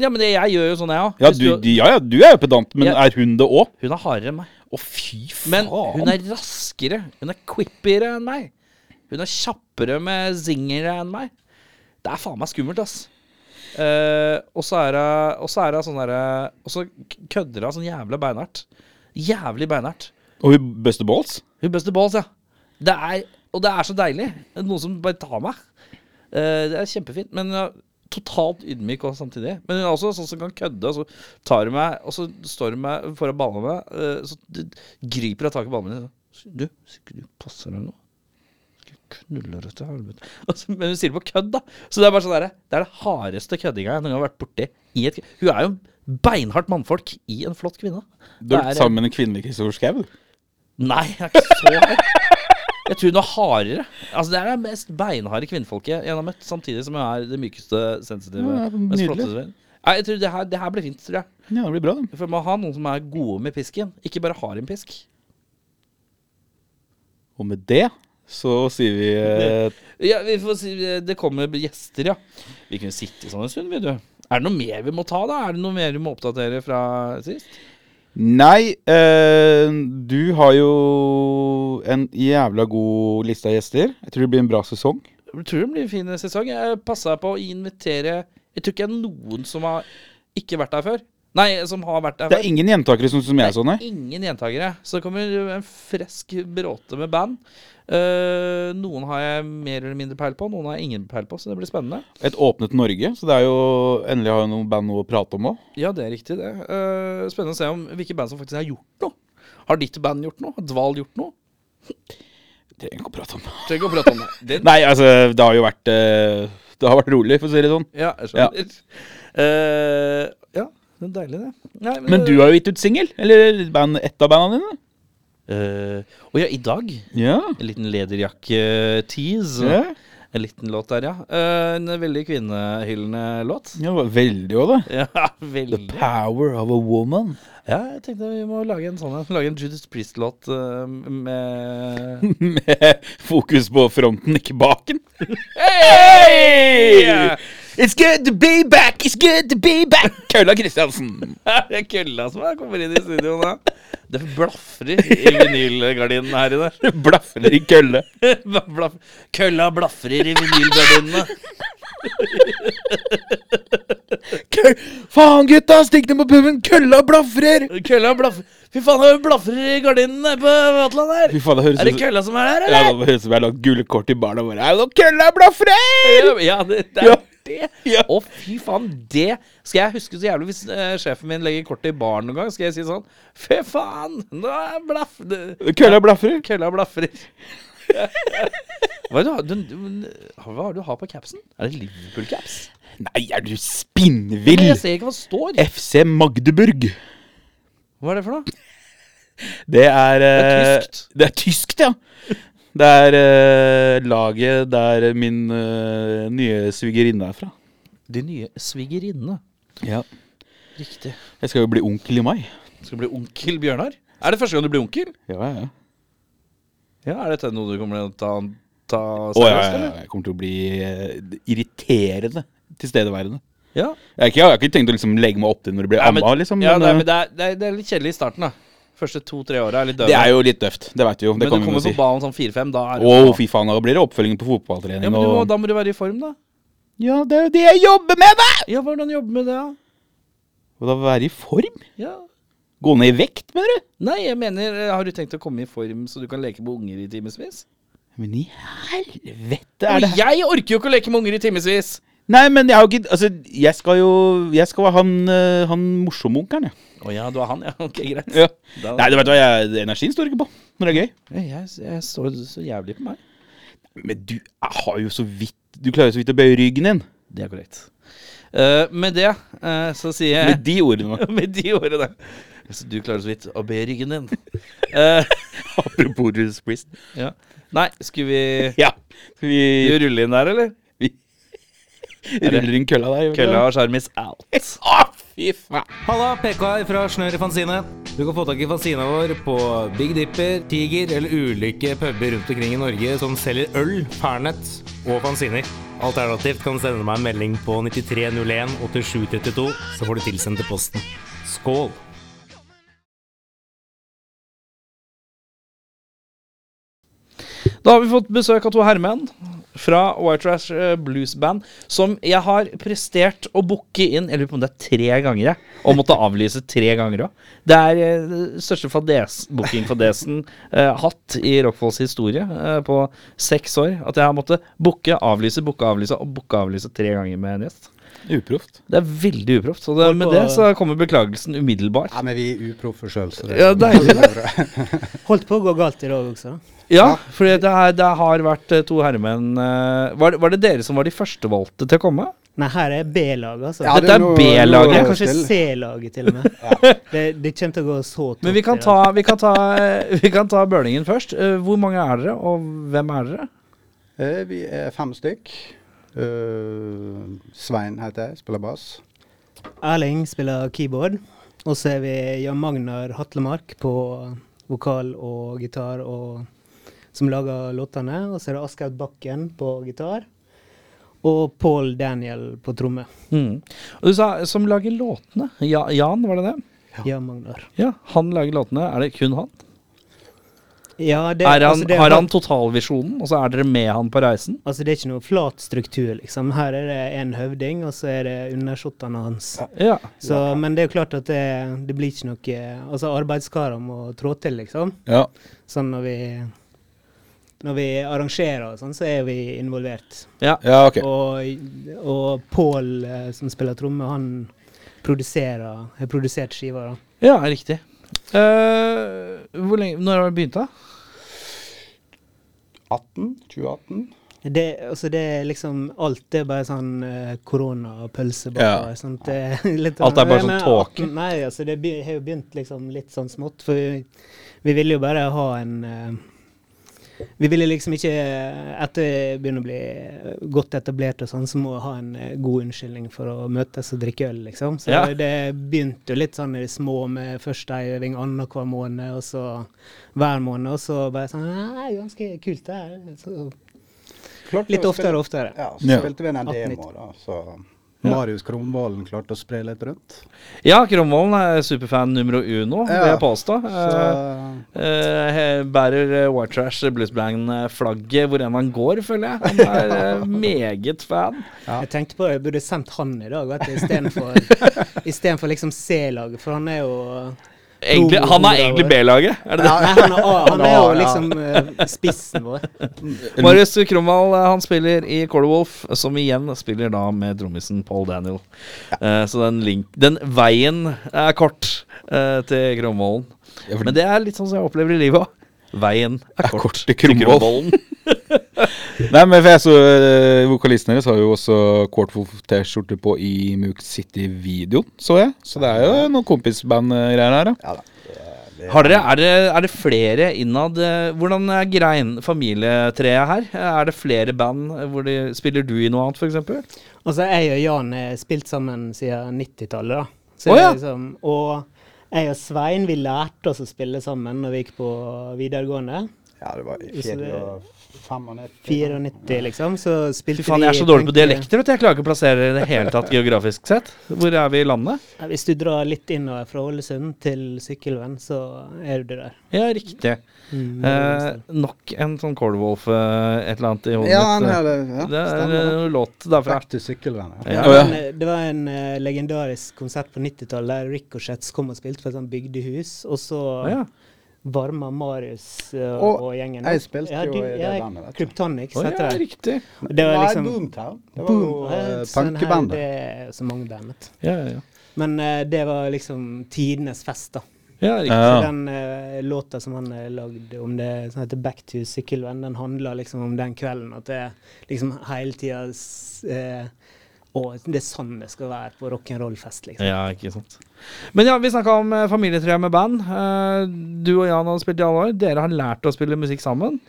A: Ja, men det, jeg gjør jo sånn, jeg òg.
B: Ja, du, de- ja, ja, du er jo pedant, men
A: Ja.
B: er hun det òg?
A: Hun er hardere enn meg.
B: Å, fy faen.
A: Men hun er raskere. Hun er quippiere enn meg. Hun er kjappere med zingere enn meg. Det er faen meg skummelt, ass. Eh, og så er hun og så er hun sånn derre Og så kødder hun sånn jævla beinhardt. Jævlig beinhardt.
B: Og hun Buster Balls?
A: Hun buster balls, ja. Det er, og det er så deilig. Noen som bare tar meg. Eh, det er kjempefint. Men ja, totalt ydmyk også samtidig. Men hun er også sånn som kan kødde, og så tar hun meg, og så står hun meg foran ballene mine, eh, så d- griper hun tak i ballene mine. sånn, Du, sikkert du passer deg nå. Skal jeg Knulle deg til helvete. Og så- Men hun sier det på kødd, da. Så det er bare sånn derre Det er det hardeste køddinga jeg noen gang har vært borti. I et, hun er jo beinhardt mannfolk i en flott kvinne.
B: Du
A: Det
B: har vært
A: er-
B: sammen med en kvinne, Kristoffer Schau.
A: Nei, jeg er ikke så hard. Jeg tror hun er hardere. Altså, Det er det mest beinharde kvinnfolket jeg har møtt, samtidig som hun er det mykeste, sensitive.
B: Ja,
A: mest
B: nydelig.
A: flotte. Nei, jeg tror det her, det her blir fint, tror jeg.
B: Ja, det blir bra, det.
A: For man må ha noen som er gode med pisken, ikke bare har en pisk.
B: Og med det så sier vi eh,
A: Ja, vi får si, Det kommer gjester, ja. Vi kunne sitte sånn en stund, vi, du. Er det noe mer vi må ta, da? Er det noe mer vi må oppdatere fra sist?
B: Nei, eh, du har jo en jævla god liste av gjester. Jeg tror det blir en bra sesong.
A: Jeg tror det blir en fin sesong. Jeg passa på å invitere Jeg tror ikke det er noen som har ikke vært der før. Nei, som har vært der
B: Det
A: før.
B: er ingen gjentakere sånn som jeg så, nei.
A: Ingen gjentakere. Så det kommer en fresk bråte med band. Eh, noen har jeg mer eller mindre peil på, noen har jeg ingen peil på, så det blir spennende.
B: Et åpnet Norge, så det er jo endelig har jo noen band noe å prate om òg.
A: Ja, det er riktig, det. Eh, spennende å se om hvilke band som faktisk har gjort noe. Har ditt band gjort noe? Har Dval gjort noe?
B: Trenger ikke å prate om det.
A: Trenger ikke å prate om det. det
B: Nei, altså, det har jo vært eh, Det har vært rolig, for å si det sånn.
A: ja, jeg skjønner. Eh, ja, det er deilig, det. Nei,
B: Men du har jo gitt ut singel, eller band, ett av bandene dine.
A: Eh, Å ja, i dag.
B: Ja.
A: En liten lederjakke-tease.
B: ja.
A: En liten låt der, ja. Eh, en veldig kvinnehyllende låt.
B: ja det var veldig òg, det.
A: Ja, veldig.
B: Power of a woman.
A: Ja, jeg tenkte vi må lage en sånn en. Lage en Judas Priest-låt eh, med
B: Med fokus på fronten, ikke baken.
A: Yeah.
B: It's good to be back, it's good to be back. Kølla Kristiansen.
A: Det er kølla som er- kommer inn i studio nå. Det blafrer i vinylgardinene her inne.
B: Blafrer i kølle.
A: Blaf kølla blafrer i vinylgardinene.
B: Kø- Faen, gutta, stikk dem på puben. Kølla blafrer.
A: Kølla blafrer Fy faen, det blafrer i gardinene på Vatland her.
B: Fy faen, det høres
A: Er det
B: ut som
A: kølla som er her,
B: ja,
A: eller?
B: det høres ut som jeg har lagt gule kort til barna våre. Hallo, kølla blafrer!
A: Ja, ja det, det
B: Ja.
A: er det.
B: Ja.
A: Å, fy faen, det skal jeg huske så jævlig hvis eh, sjefen min legger kortet i baren noen gang. Skal jeg si sånn Fy faen, nå er blaff... det-
B: Kølla blafrer.
A: Kølla blafrer. hva, er det, du har- du, du, hva har du har på capsen? Er det Liverpool-caps?
B: Nei, er du
A: Men
B: spinnvill?
A: Jeg ser ikke hva det står.
B: FC Magdeburg.
A: Hva er det for noe?
B: Det er eh,
A: tyskt.
B: Det er tyskt, ja. Det er eh, laget der min eh, nye svigerinne er fra.
A: De nye svigerinne.
B: Ja.
A: Riktig.
B: Jeg skal jo bli onkel i mai.
A: Skal du bli onkel Bjørnar? Er det første gang du blir onkel?
B: Ja, ja, ja.
A: Ja, Er dette noe du kommer til å ta, ta
B: Å, ja, ja,
A: eller?
B: ja. Jeg kommer til å bli eh, irriterende tilstedeværende.
A: Ja.
B: Jeg har, ikke, jeg har ikke tenkt å liksom legge meg opp til når det blir
A: Nei, men-
B: amma, liksom.
A: ja,
B: men,
A: nei,
B: eh,
A: men det, er, det, er, det er litt kjedelig i starten, da. Første to-tre åra er litt døve.
B: det er jo litt døvt. Det veit vi jo. Det
A: men
B: kan
A: du
B: vi
A: kommer
B: jo si.
A: på banen sånn fire-fem, da er
B: Å,
A: det
B: fy faen, da blir det oppfølging på fotballtrening
A: ja, men du må,
B: og
A: Da må du være i form, da.
B: Ja, det er jo det jeg jobber med, da!
A: Ja, hvordan jobbe med det, da?
B: Og da være i form?
A: Ja.
B: Gå ned i vekt, mener du?
A: Nei, jeg mener, eh, har du tenkt å komme i form så du kan leke med unger i timevis?
B: Men i helvete er det
A: Og jeg orker jo ikke å leke med unger i timevis!
B: Nei, men jeg har jo ikke Altså, jeg skal jo Jeg skal være han, eh, han morsomme onkelen, jeg.
A: Å ja, du er han, ja. Ok, greit.
B: Ja.
A: Da,
B: Nei, du vet hva, jeg, energien står ikke på når det er gøy.
A: Jeg, jeg står så jævlig på meg.
B: Men du har jo så vidt Du klarer jo så vidt å bøye ryggen din.
A: Det er korrekt. Eh, med det eh, så sier jeg
B: Med de ordene.
A: Med de årene. Hvis du klarer så vidt å be ryggen din. Eh,
B: Apropos Judas Priest.
A: ja. Nei, skulle vi
B: Ja. Skal
A: Skal
B: vi
A: vi rulle inn der, eller?
B: ruller inn kølla der? gjør vi ikke
A: Kølla og skjermis out.
B: det? Å, fy faen.
C: Halla, PK her fra Snør i Fanzine. Du kan få tak i fanzina vår på Big Dipper, Tiger eller ulike puber rundt omkring i Norge som selger øl, Fernet og fanziner. Alternativt kan du sende meg en melding på 9301 8732, så får du tilsendt til posten. Skål!
A: Da har vi fått besøk av to herremenn. fra White Trash eh, Blues Band, som jeg har prestert å booke inn Jeg lurer på om det er tre ganger, jeg. Og måtte avlyse tre ganger òg. Det er eh, den største fades, bookingfadesen eh, hatt i Rockfolds historie eh, på seks år. At jeg har måttet booke, avlyse, booke, avlyse og booke, avlyse tre ganger med en gjest.
B: Uproft.
A: Det er veldig uproft. Og det, med det så kommer beklagelsen umiddelbart.
D: Nei, men vi er uproffe sjøl, så det
A: Ja, deilig.
E: Holdt på å gå galt i dag også. da.
A: Ja, for det, er- det har vært eh, to herremenn eh, var, det- var det dere som var de førstevalgte til å komme?
E: Nei, her er B-laget, altså.
D: Ja,
E: Ja,
A: Dette
D: det
A: er
D: nå-
A: B-laget.
D: nå
E: det
D: er
E: er
D: det
E: kanskje
D: stille.
E: C-laget, til og med. Det, det kommer til å gå så tungt.
A: Men vi kan
E: i dag.
A: ta, vi kan ta, eh, vi kan ta bølingen først. Eh, Hvor mange er dere, og hvem er dere?
D: Eh, Vi er fem stykk. Eh, Svein heter jeg, spiller bass.
E: Erling spiller keyboard. Og så er vi Jan Magnar Hatlemark på vokal og gitar, og, som lager låtene. Og så er det Asgaut Bakken på gitar. Og Paul Daniel på tromme.
A: Mm. Og du sa som lager låtene. Ja, Jan, var det det?
E: Jan Magnar.
A: Ja, han lager låtene. Er det kun han?
E: Ja, det,
A: er han
E: altså, det
A: har han totalvisjonen, og så er dere med han på reisen?
E: Altså, det er ikke noe flat struktur, liksom. Her er det en høvding, og så er det undersåttene hans.
A: Ja.
E: Så, Men det er jo klart at det, det blir ikke noe Altså, arbeidskarer må trå til, liksom.
B: Ja.
E: Sånn når vi Når vi arrangerer og sånn, så er vi involvert.
A: ja.
B: ja, ok.
E: Og, og Pål, eh, som spiller tromme, han produserer har produsert skiva, da.
A: Ja, riktig. Eh, hvor lenge, når har det begynt, da?
D: 18? 2018?
E: Det, altså det er liksom Alt det er bare sånn eh, koronapølse
B: Ja.
E: bakover. sånt, det er litt
A: Alt er bare
E: Nei,
A: sånn
E: men
A: tåke.
E: 18 Nei, altså det be- har jo begynt liksom litt sånn smått, for vi, vi ville jo bare ha en eh, Vi ville liksom ikke eh, Etter begynne å bli eh, godt etablert og sånn, så må vi ha en eh, god unnskyldning for å møtes og drikke øl, liksom. Så
A: Ja.
E: det begynte jo litt sånn i det små med først ei øving annenhver måned, og så hver måned, og så bare sånn Nei, ganske kult det her. Så
D: Klarte
E: Litt
D: å
E: oftere
D: spille-
E: og oftere.
D: Ja, så
B: Ja.
D: spilte vi en
E: 18-19.
D: demo, da. Så Marius Kronvollen klarte å spre litt rundt.
A: Ja, Kromvollen er superfan numero uno, vil
D: Ja.
A: jeg påstå. Eh,
D: Så
A: eh, he- bærer eh, White Trash eh, Blues Bang-flagget hvor enn han går, føler jeg. Han er eh, meget fan.
D: Ja.
E: Jeg tenkte på at jeg burde sendt han i dag, vet du, istedenfor istedenfor liksom C-laget, for han er jo
A: Egentlig, han er egentlig B-laget. er det det?
E: Nei, han er, A, han er jo
D: Ja.
E: liksom eh, spissen vår.
A: Marius Kromvall eh, han spiller i Colorwolf, som igjen spiller da med trommisen Paul Daniel. Eh, så den, link, den veien er kort eh, til Kromvollen.
B: Ja, for-
A: Men det er litt sånn som jeg opplever i livet òg. Veien er
B: er
A: kort,
B: kort til Kromvoll. Nei, men for jeg så eh, Vokalisten deres har jo også Quartwolf-T-skjorte på i Mook City-videoen, så jeg. Så det er jo noen kompisband-greier her, da.
D: Ja da. det- det-
A: Har dere, er, det, er det flere innad eh, Hvordan er grein familietreet her? Er det flere band hvor de spiller du i noe annet, f.eks.?
E: Altså, jeg og Jan har spilt sammen siden 90-tallet, da. Så
A: Å,
E: det
A: ja.
E: er liksom, og jeg og Svein, vi lærte oss å spille sammen når vi gikk på videregående.
D: Ja, det var i
E: Så det-
D: 94.
E: 94, liksom. Så spilte
A: Fy faen, jeg er så
E: vi-
A: dårlig på
E: tenkte-
A: dialekter, vet du. Jeg klarer ikke å plassere det i det hele tatt geografisk sett. Hvor er vi i landet?
E: Ja, Hvis du drar litt innover fra Ålesund til Sykkylven, så er du der.
A: Ja, riktig.
E: Mm,
A: Eh, nok en sånn Cornwolf eh, et eller annet i hodet
D: Ja, han
A: mitt. eh.
D: er det. Ja,
A: det er
D: stemmer det.
A: en låt derfra.
D: Back to sykkelvenner.
A: Ja.
E: Det var
B: Å,
E: en- Det var en eh, legendarisk konsert på 90-tallet der Ricochets kom og spilte på et sånt bygdehus, og så
A: Å, ja.
E: varma Marius eh,
D: Og
E: og, gjengen
D: jeg
E: opp.
D: spilte
E: ja,
D: jo
E: du,
D: i det
E: ja,
D: bandet, vet du.
E: Kryptonics
A: Å,
E: heter
A: ja,
E: det.
A: riktig.
E: Og Det var liksom
D: Nei, Boomtown. Det var jo
E: Boom,
D: eh,
E: eh, sånn her,
D: punkebandet.
E: Det er så mange band. vet du.
A: Ja, ja, ja.
E: Men eh, det var liksom tidenes fest, da.
A: ja, riktig.
B: Ja.
E: Så den eh, låta som han eh, lagde om det som heter 'Back to Sykkylven', den handler liksom om den kvelden. At det er liksom hele tida eh, Å, det er sånn det skal være på rock'n'roll-fest, liksom.
A: Ja, ikke sant. Men ja, vi snakka om eh, familietreet med band. Eh, du og Jan har spilt i alle år. Dere har lært å spille musikk sammen.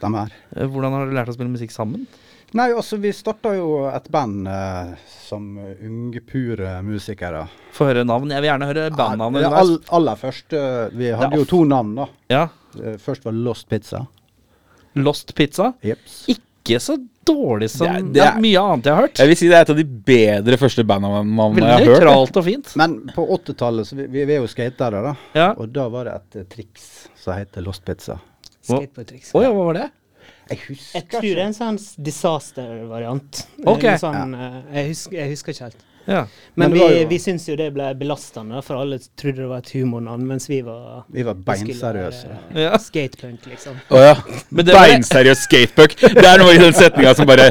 D: Stemmer.
A: Eh, hvordan har dere lært å spille musikk sammen?
D: Nei, altså, vi starta jo et band eh, som ungpure musikere.
A: Få høre navn. Jeg vil gjerne høre bandnavnet.
D: Ja, all, aller først eh, Vi
A: Det er
D: hadde jo to navn, da.
A: ja.
D: Eh, Først var Lost Pizza.
A: Lost Pizza.
D: Jeps.
A: Ikke så dårlig som
B: Det er- det
A: det er,
B: er-
A: mye annet jeg har hørt.
B: Jeg vil si det er et av de bedre første bandnavnene jeg
A: Veldig
B: har hørt.
A: nøytralt og fint.
D: Men på 80-tallet, så vi, vi vi er jo skatere, da.
A: Ja.
D: Og da var det et eh, triks som heter Lost Pizza.
E: Skateboardtriks.
A: Å ja, hva var det?
D: Jeg husker
E: Jeg tror det er en sånn s- disaster-variant.
A: Ok.
E: Eller Sånn, eh, jeg, husker, jeg husker ikke helt.
A: Ja.
D: Men
E: Men,
D: det var
E: vi,
D: jo-
E: vi syntes jo det ble belastende, da, for alle trodde det var et humornavn, mens vi var
D: Vi var beinseriøse.
A: Ja.
E: Ja. Skatepunk, liksom.
B: Å ja.
A: Men det var-
B: Beinseriøs skatepuck. Det er noe i den setninga som bare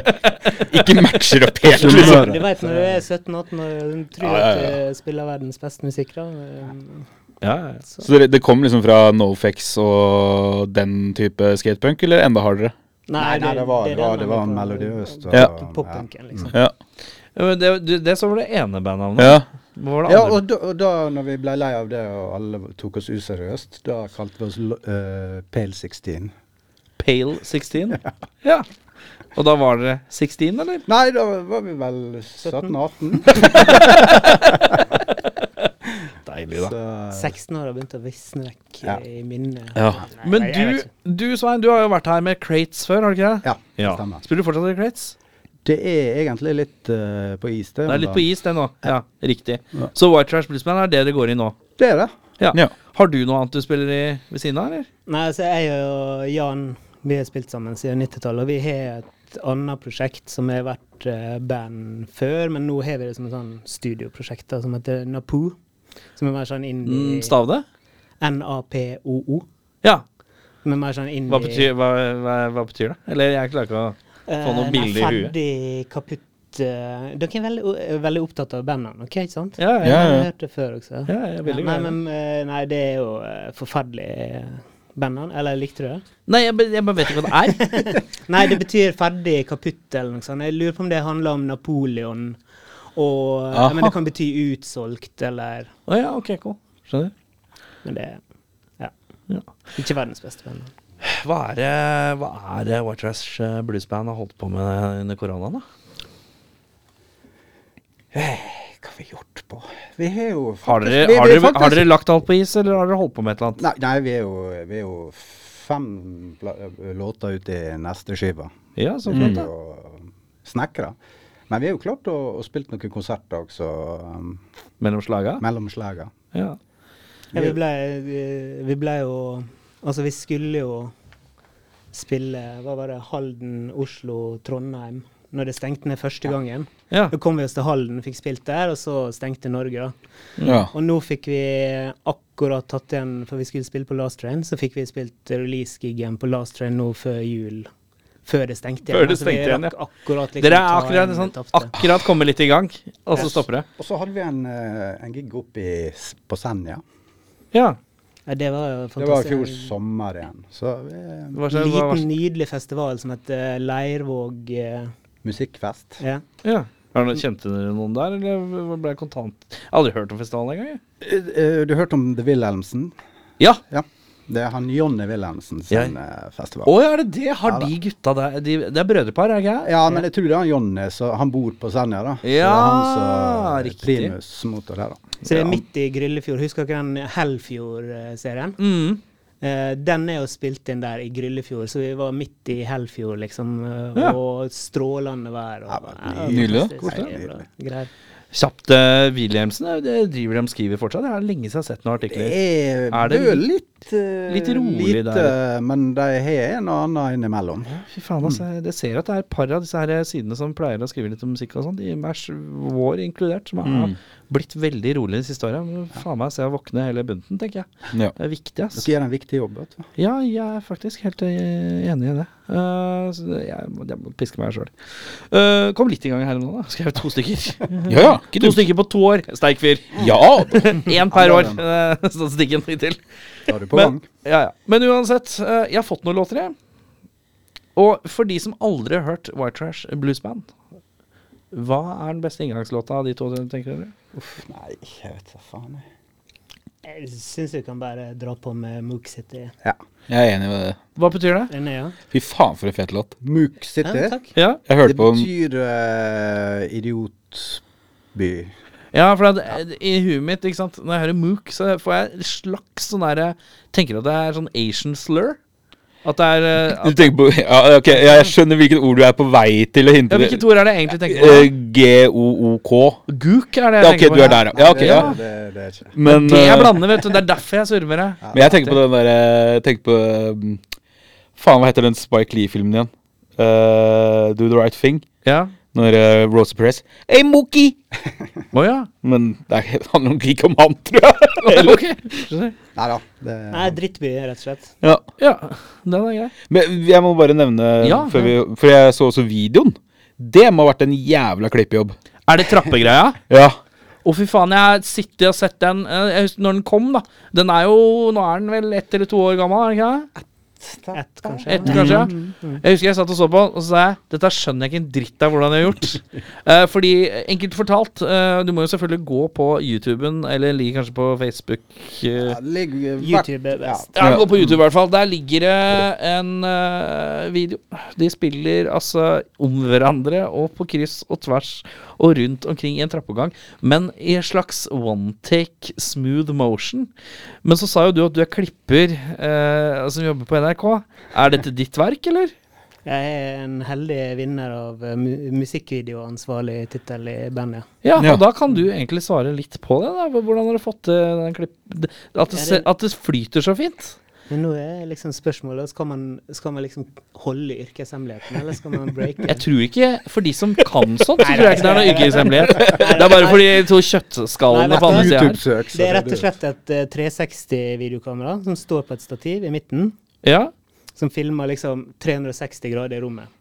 B: ikke matcher opp helt, liksom.
E: Det vet når du er 17-18 og tror
B: Ja, ja,
E: at
B: ja.
E: du spiller verdens beste musikk, da. Eh,
A: Ja, ja.
E: Så.
B: Så det, det kom liksom fra Nofex og den type skatepunk, eller enda hardere?
D: Nei, nei, det var, det
E: er
D: var,
E: den
D: det var
E: andre-
D: melodiøst. Mm. og-
B: Ja.
E: Poppunken, liksom.
B: Ja.
A: Ja, men Det, du- det som var det ene bandnavnet.
B: ja.
A: Hva var det
D: Ja,
A: andre?
D: og da, og da når vi ble lei av det, og alle tok oss useriøst, da kalte vi oss lo- eh, Pale 16.
A: Pale 16? Ja. Og da var dere 16, eller?
D: Nei, da var vi vel 17-18.
A: Deilig,
D: Så
E: 16 år har begynt å visne vekk eh,
D: Ja.
E: i minnet.
B: Ja.
E: Nei,
A: Men
E: jeg- jeg
A: du,
E: vet ikke.
A: du Svein, du har jo vært her med Crates før, har du ikke det?
D: Ja, det stemmer.
A: Spiller du fortsatt i Crates?
D: Det er egentlig litt eh, på is, det.
A: Det er litt på is, det nå. Ja, riktig.
D: Ja.
A: Så White Trash Bluesman er det det går i nå.
D: Det er det.
A: Ja.
B: Ja.
A: Har du noe annet du spiller i ved siden av, eller?
E: Nei, altså jeg og Jan vi har spilt sammen siden 90-tallet, og vi har et annet prosjekt som har vært eh, band før, men nå har vi det som et sånn studioprosjekt da, som heter Napo. Som er mer sånn
A: Mm,
E: indie
A: Stav det?
E: N-A-P-O-O.
A: Ja.
E: Som er mer sånn indie
A: Hva betyr, hva, hva, hva betyr det? Eller jeg klarer ikke å Få noen
E: Eh,
A: bilder i
E: nei,
A: huet.
E: Ferdig kaputt eh, Dere er veldig, er veldig opptatt av bandene, OK? Ikke sant?
A: Ja,
B: Ja,
A: ja.
E: Jeg
B: ja.
E: har hørt det før også.
A: ja jeg er veldig
E: nei,
A: glad i det.
E: men, eh, nei, det er jo eh, forferdelig eh, bandnavn. Eller likte du det?
A: Nei, jeg, bare- jeg bare vet ikke hva det er.
E: Nei, det betyr ferdig kaputt eller noe sånt. Jeg lurer på om det handler om Napoleon. Og ja,
B: Aha.
E: Men det kan bety utsolgt eller
A: Å ja, ok, cool. Skjønner.
E: Men det ja.
A: Ja.
E: Ikke verdens beste band.
A: Hva er det, hva er det White Trash eh, Blues Band har holdt på med under koronaen, da? Eh,
D: Hva har vi gjort på? Vi har jo
A: Har dere,
D: vi- vi
A: har,
D: er
A: dere, har
D: faktisk-
A: dere lagt alt på is, eller har dere holdt på med et eller annet?
D: Nei, nei vi, er jo, vi er jo fem pla- låter ut i neste skive.
A: Ja, så
D: Vi
A: flott,
D: er
A: da.
D: jo Snekre. Men vi har jo klart å, å spille noen konserter også, um,
A: Mellom slaga?
D: mellom slaga.
A: Ja.
E: Ja, vi ble, vi, vi ble jo Altså, vi skulle jo spille Hva var det? Halden, Oslo, Trondheim. Når det stengte ned første gangen.
A: ja.
E: Da kom vi oss til Halden, fikk spilt der, og så stengte Norge, da.
B: ja.
E: Og nå fikk vi akkurat tatt igjen, for vi skulle spille på Last Train, så fikk vi spilt release-giggen på Last Train nå før jul. Før det stengte igjen.
A: Før det
E: Altså, vi
A: stengte igjen,
E: rakk
A: ja.
E: Akkurat, liksom,
A: Dere
E: ta
A: er akkurat,
E: igjen
A: sånn,
E: det tapte.
A: akkurat kommet litt i gang, og så
E: Yes.
A: stopper det.
D: Og så hadde vi en, eh, en gig opp i, s- på Senja.
A: Ja.
E: ja, det var
D: Det
E: jo
D: var i
E: fantastisk.
D: fjor sommer igjen. Så vi, eh,
A: Hva skjer? Hva,
E: Liten, nydelig festival som heter Leirvåg eh,
D: musikkfest.
E: ja.
A: ja. Var det noe- Kjente dere noen der, eller ble jeg kontant? Jeg har aldri hørt om festivalen engang. jeg.
D: Eh, eh, Du hørte om The Wilhelmsen?
A: Ja.
D: Ja. Det er han Jonny Wilhelmsen sin eh, festival.
A: Å ja, er det det? Har
D: Ja, da.
A: de gutta der de, Det er brødrepar, er det ikke?
D: Ja, men jeg tror det er han Jonny, så han bor på Senja, da. Så det er
A: Ja,
D: han som
A: riktig.
D: primusmotor her, da.
E: Så det er midt i Gryllefjord. Husker dere den Hellfjord-serien?
A: Mm.
E: Eh, den er jo spilt inn der i Gryllefjord, så vi var midt i Hellfjord, liksom. eh,
A: Ja.
E: Og strålende vær. Og,
D: Ja, men
E: Ja,
B: nydelig, da.
E: fantastisk.
D: Koselig.
E: Nei, det er bra. Greier.
A: Kjapt eh, Wilhelmsen, eh, det driver de skriver fortsatt? Det er lenge siden jeg har sett noen
D: Det
A: artikler.
D: er,
A: Er det
D: det er litt eh,
A: litt rolig
D: lite,
A: der?
D: Men de har en og annen innimellom.
A: Fy faen, altså.
B: Mm.
A: Det ser at det er et par av disse her sidene som pleier å skrive litt om musikk og sånn, i Mash Vår inkludert, som har
B: Mm.
A: blitt veldig rolig de siste åra. Faen meg så jeg våkner hele bunten, tenker jeg.
B: ja.
A: Det er viktig, ass.
D: Dere gjør en viktig jobb, vet du.
A: Ja, jeg er faktisk helt eh, enig i det. Eh, så det- jeg, må- jeg må piske meg sjøl. kom litt i gang her nå, da. Skrev to stykker.
B: Ja, ja. Ikke
A: to
B: dumt.
A: stykker på to år. Sterk fyr.
B: Ja!
A: Én per år. eh, Statistikken hittil.
D: Da er du på gang.
A: Men, ja, ja. Men uansett, eh, jeg har fått noen låter, jeg. Og for de som aldri har hørt White Trash Blues Band, hva er den beste inngangslåta av de to, tenker dere?
D: Nei, jeg vet da faen, jeg.
E: Jeg syns vi kan bare dra på med Mook City.
D: Ja.
B: Jeg er enig med det.
A: Hva betyr det?
E: Den er, ja.
B: Fy faen, for en fet låt.
D: Mook
E: ja
D: City.
E: takk.
A: Ja,
B: Jeg
D: det
B: hørte på den
D: betyr eh, idiotby.
A: ja for at, eh, i huet mitt, ikke sant når jeg hører Mook, så får jeg en slags sånn derre Tenker at det er sånn Asian slur. At det er eh,
B: Du
A: at,
B: tenker på ja, Ok, jeg skjønner hvilket ord du er på vei til å
A: ja,
B: hinte
A: Hvilket ord er det jeg egentlig tenker på?
B: Eh, G-o-o-k.
A: Gook er det jeg
B: Ja, ok,
A: tenker på.
B: du er der, ja. ja. ok,
D: det,
B: ja.
D: Det, det er ikke
B: Men,
A: Det jeg
B: eh,
A: blander, vet du. Det er derfor jeg surmer. jeg.
B: men jeg tenker på den derre Jeg tenker på eh, Faen, hva heter den Spike Lee-filmen igjen? Eh, Do the Right Thing.
A: Ja.
B: Når eh, Rosa Perez Hey, Mookie!
A: Å ja.
B: Men det er- det handler nok ikke om han, tror jeg.
A: Ok.
D: Nei da. Det,
E: Nei, drittby, rett og slett.
B: Ja.
A: Ja, den er grei.
B: Men jeg må bare nevne,
A: Ja,
B: før vi, for jeg så også videoen. Det må ha vært en jævla klippejobb.
A: Er det trappegreia?
B: Ja.
A: Å, fy faen, jeg har sittet og sett den eh, Jeg husker når den kom, da. Den er jo Nå er den vel ett eller to år gammel, er den ikke det?
E: Ett, kanskje.
A: Ett, kanskje? Jeg husker jeg satt og så på, og så sa jeg dette skjønner jeg ikke en dritt av hvordan jeg har gjort. Eh, fordi, enkelt fortalt, eh, du må jo selvfølgelig gå på YouTuben, eller ligger kanskje på Facebook. eh,
D: Ja, det ligger-
E: YouTube er best.
A: Ja, gå på YouTube i hvert fall. Der ligger det en eh, video. De spiller altså om hverandre og på kryss og tvers og rundt omkring i en trappeoppgang, men i en slags one take smooth motion. Men så sa jo du at du er klipper eh, som jobber på NRK. Er dette ditt verk, eller?
E: Jeg er en heldig vinner av eh, mu musikkvideoansvarlig tittel i bandet.
A: Ja,
B: Ja.
A: og da kan du egentlig svare litt på det. da Hvordan har du fått til den klipp... At det, se- at det flyter så fint?
E: Men nå er liksom spørsmålet skal man, skal man liksom holde yrkeshemmeligheten, eller skal man breake?
A: Jeg tror ikke, For de som kan sånt, så tror jeg ikke det er noe yrkeshemmelighet. Det er bare for de to kjøttskallene på andre sida her.
D: YouTube-søk. så
E: Det er rett og
D: det-
E: slett et eh, 360-videokamera som står på et stativ i midten,
A: Ja.
E: som filmer liksom 360 grader i rommet.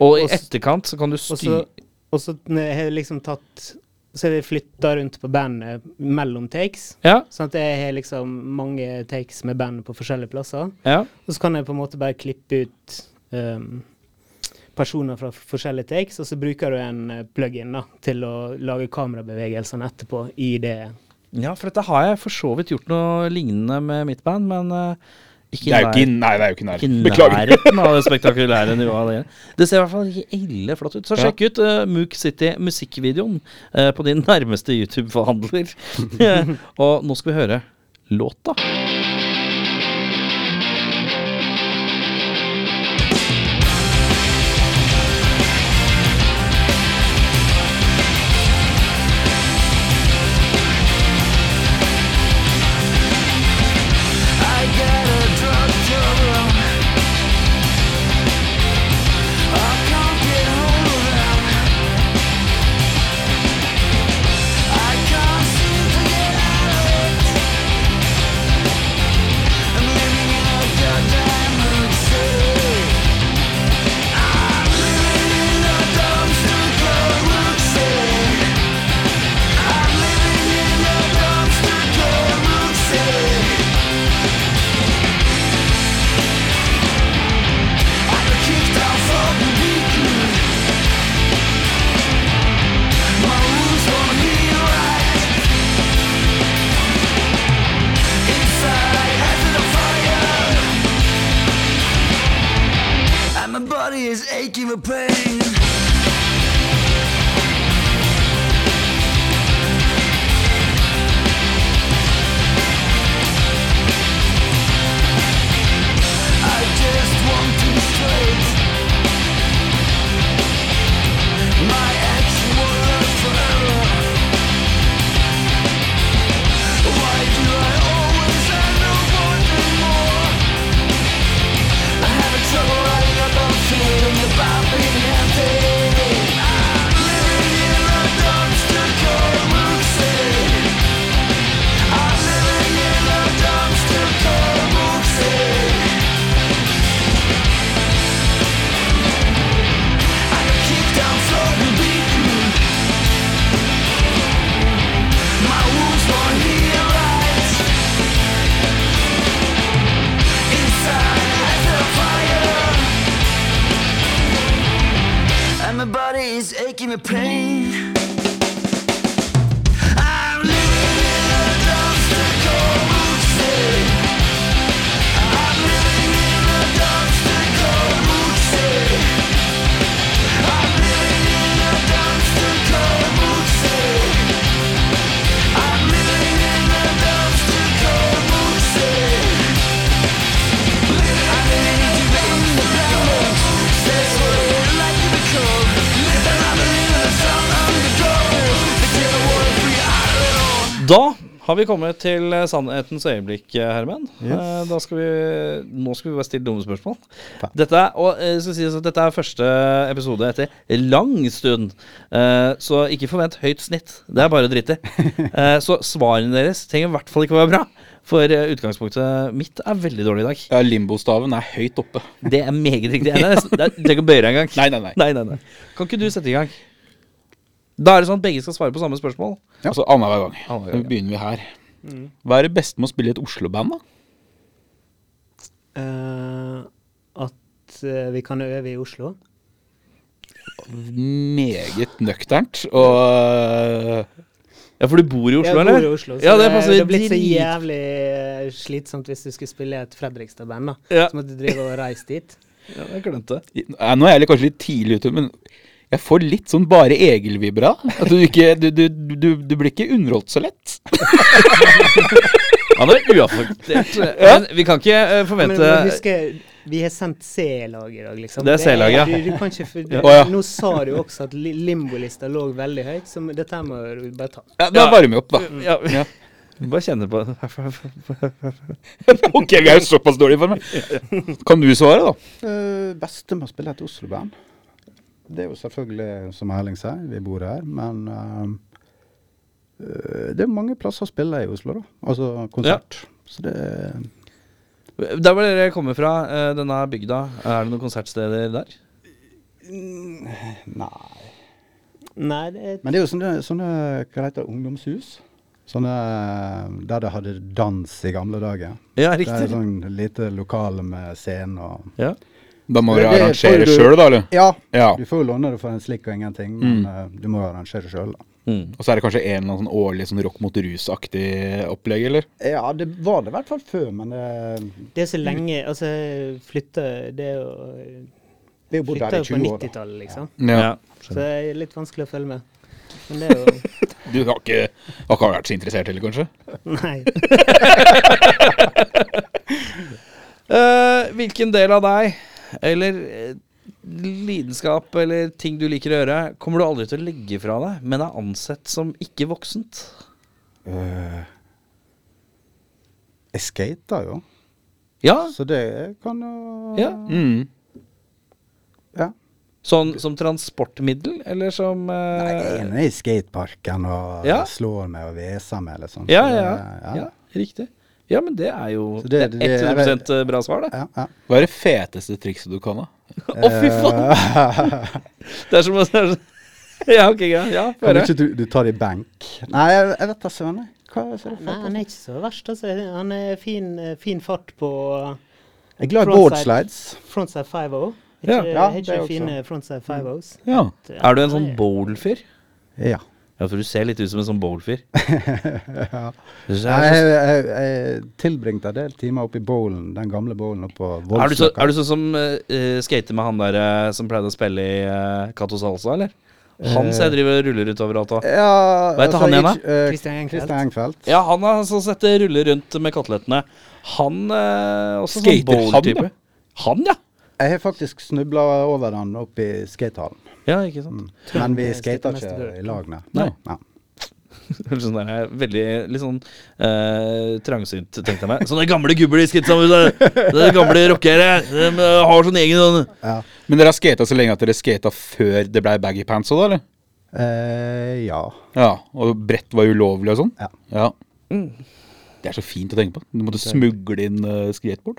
A: Og i
E: Og s-
A: etterkant så kan du
E: Og så,
A: styre
E: og så n- har jeg liksom tatt Så har vi flytta rundt på bandet mellom takes.
A: Ja,
E: Sånn at jeg har liksom mange takes med band på forskjellige plasser.
A: ja.
E: Og så kan jeg på en måte bare klippe ut ehm, personer fra f- forskjellige takes, og så bruker du en eh, plug-in da, til å lage kamerabevegelsene etterpå i det.
A: ja, for dette har jeg for så vidt gjort noe lignende med mitt band, men eh, ikke,
B: Det er jo ikke
A: nær-
B: Nei, det er jo ikke
A: ikke
B: nær. Beklager.
A: nærheten av det spektakulære nivået. av Det Det ser i hvert fall ikke ille flott ut. Så
B: Ja.
A: sjekk ut eh, Mook City musikkvideoen eh, på din nærmeste YouTube-forhandler. Og nå skal vi høre låta.
F: My body is aching with pain. I just want to be straight. My action will last forever. Why do I always end up wanting more? I have trouble writing about feeling about being empty. I'm living in a dumpster called Moxie. I'm living in a dumpster called Moxie. Kicked out, flogged, and beaten. My wounds won't heal right. Inside, I feel fire, and my body is aching with pain. I'm living in a dumpster called Moxie. I'm living in a dumpster called Moxie. I'm living in a dumpster called Moxie. I'm living in a dumpster called Moxie. I'm living to be in the black hole. That's what it like to be cold. I'm living in the sun on the
A: Har vi kommet til eh, sannhetens øyeblikk, eh, Herman?
D: Yes.
A: Eh, Da skal vi, nå skal vi bare stille dumme spørsmål.
D: Faen.
A: Dette er, og, eh, skal sies at dette er første episode etter lang stund, Eh, så ikke forvent høyt snitt. Det er bare å drite i. Eh, Så svarene deres trenger i hvert fall ikke å være bra, for eh, utgangspunktet mitt er veldig dårlig i dag.
B: Ja, Limbostaven er høyt oppe.
A: Det er meget riktig. Det er nesten- det er- Du trenger ikke å bøye deg engang.
B: Nei, nei, nei.
A: Nei, nei, nei. Kan ikke du sette i gang? Da er det sånn at begge skal svare på samme spørsmål.
D: Ja.
B: Altså annenhver gang.
A: Annenhver
B: Nå
A: gang, ja.
B: begynner vi her. Hva er det beste med å spille i et Oslo-band, da?
E: Eh, at eh, vi kan øve i Oslo.
B: Meget nøkternt. Og eh,
A: Ja, for du bor i Oslo,
E: jeg
A: eller?
E: bor i Oslo, så
A: ja, det
E: det,
A: passer
E: det har blitt så
A: drit-
E: jævlig eh, slitsomt hvis du skulle spille i et Fredrikstad-band. da.
A: Ja.
E: Så måtte du drive og reise dit.
A: Ja, jeg glemte det.
B: ja, Nå er jeg litt- kanskje litt tidlig ute, men jeg får litt sånn bare Egil-vibra. At du ikke du, du, du, du blir ikke underholdt så lett.
A: Han er uaffektert. Men vi kan ikke eh,
E: Men,
A: forvente
E: men husk, vi har sendt C-lag i dag, liksom.
A: Det er C-laget, ja.
E: Du, du kan ikke, for,
A: Ja.
B: Å, ja.
E: Nå sa du jo også at li- limbolista lå veldig høyt, så dette her må du bare ta.
B: Ja, da
A: Ja.
B: varmer vi opp, da.
A: ja. Bare kjenne på
B: ok, vi er jo såpass dårlige for meg. Kan du svare, da?
D: Eh, beste med å spille et Oslo-band? Det er jo selvfølgelig, som Erling sier, vi bor her, men eh, eh, det er mange plasser å spille i Oslo, da. Altså konsert. Så det er
A: Der hvor dere kommer fra, eh, denne bygda, er det noen konsertsteder der?
D: Nei.
E: Nei, det er
D: Men det er jo sånne, sånne hva heter det, ungdomshus? Sånne eh, der de hadde dans i gamle dager.
A: Ja,
D: Det er
A: riktig.
D: sånn lite lokale med scene og
A: Ja.
B: Da må
D: Det-
B: du
D: det
B: arrangere
D: får du-
B: sjøl, da, eller?
D: Ja.
B: Ja.
D: Du får jo låne det for en slikk og ingenting, men eh, du må jo arrangere sjøl, da.
A: Mm.
B: Og så er det kanskje en eller annen sånn årlig sånn rock mot rus-aktig opplegg, eller?
D: Ja, det var det i hvert fall før, men eh, det,
E: Det er så lenge Altså, flytte Det er jo
D: vi har jo bodd her
E: Flytta
D: i
E: jo
D: 20
E: på
D: år. da.
E: 90-tallet, liksom.
A: Ja.
E: Så det er litt vanskelig å følge med. Men det er jo
B: Du har ikke, har ikke vært så interessert heller, kanskje?
E: Nei.
A: Eh, hvilken del av deg, eller eh, lidenskap eller ting du liker å gjøre, kommer du aldri til å legge fra deg, men er ansett som ikke voksent?
D: Eh, Jeg skater jo,
A: Ja,
D: så det kan jo
A: Ja.
B: Mm.
D: Ja.
A: sånn som transportmiddel, eller som eh,
D: Nei, jeg er nede i skateparken og
A: Ja.
D: slår meg og hveser meg eller sånt.
A: Ja,
D: så
A: ja,
D: det-
A: ja. ja. Riktig. Ja, men det er jo
D: Så
A: det,
D: det-
A: er
D: det er-
A: 100 eh, bra svar, det.
D: ja, ja.
B: Hva er det feteste trikset du kan, da?
D: Eh,
A: Å, fy faen! Det er som å Ja, ok, greit. Ja, få
D: Kan
A: høre.
D: ikke du, du ta det i benk? Nei, jeg, jeg vet da søren. jeg. Hva er det for
E: Nei, han
D: fett?
E: er ikke så verst, altså. Han er fin, eh, fin fart på eh,
D: Jeg er glad i
E: Frontside.
D: boardslides.
E: frontside 5-0.
A: Ja,
D: ja,
E: Har
D: det
E: ikke
D: er
E: du
D: også.
E: fine frontside 5-0s?
B: Ja.
A: Er du en sånn bowl-fyr?
D: Ja.
A: Ja, for du ser litt ut som en sånn bowl-fyr. Du ser- sånn-
D: Jeg, jeg, jeg, jeg tilbringte en del timer oppe i bowlen, den gamle bowlen oppe på
A: Er du, så,
D: Voldsløkka.
A: er du sånn som eh, skater med han der eh, som pleide å spille i eh, Cato Salsa, eller? Han
D: Eh.
A: ser jeg driver og ruller ut overalt òg.
D: Ja,
A: Hva heter han igjen, da?
D: jeg- eh,
E: Christian Engelfeldt.
D: Christian Engelfeldt.
A: Ja, han er sånn sett eh, ruller rundt med kotelettene. Han eh, også sånn
B: Skater han,
A: bowl-type.
B: da?
A: Han, ja.
D: Jeg har faktisk snubla over den oppe i skatehallen.
A: Ja, ikke sant.
D: Men vi
E: Trond,
D: skater ikke
E: skatemester.
D: i lag, nei.
A: Nei.
D: Nei.
A: Sånn der, eh, veldig litt sånn eh, trangsynt, tenkte jeg meg. Sånne gamle gubber de skrittet sammen. så- Det er gamle rockere. De eh, har sånn egen sånn
D: Ja.
B: Men dere har skata så lenge at dere skata før det blei baggy pants òg, da, eller?
D: Eh, ja.
B: Ja. Og brett var ulovlig og sånn?
D: Ja.
B: Det er så fint å tenke på. Du måtte smugle inn eh, skateboard.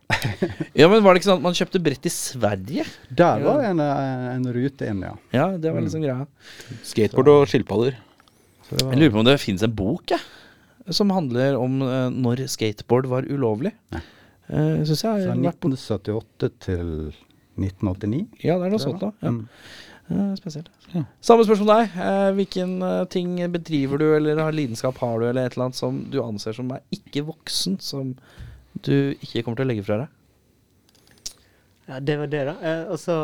A: Ja, men var det ikke sånn at man kjøpte brett i Sverige?
D: Der var en, eh, en rute inn, ja.
A: Ja, det var liksom greia.
B: Skateboard og skilpadder.
D: Så det var-
A: Jeg lurer på om det finnes en bok jeg, som handler om eh, når skateboard var ulovlig. Uh, Syns jeg.
D: Fra
A: har vært på-
D: 1978 til 1989.
A: Ja, det er noe sånt, da. Ja.
D: Mm.
A: Eh, spesielt. Samme spørsmål til deg. Eh, hvilken eh, ting bedriver du, eller har lidenskap har du, eller et eller annet som du anser som er ikke voksen, som du ikke kommer til å legge fra deg?
E: Ja, det var det, da. Eh, og så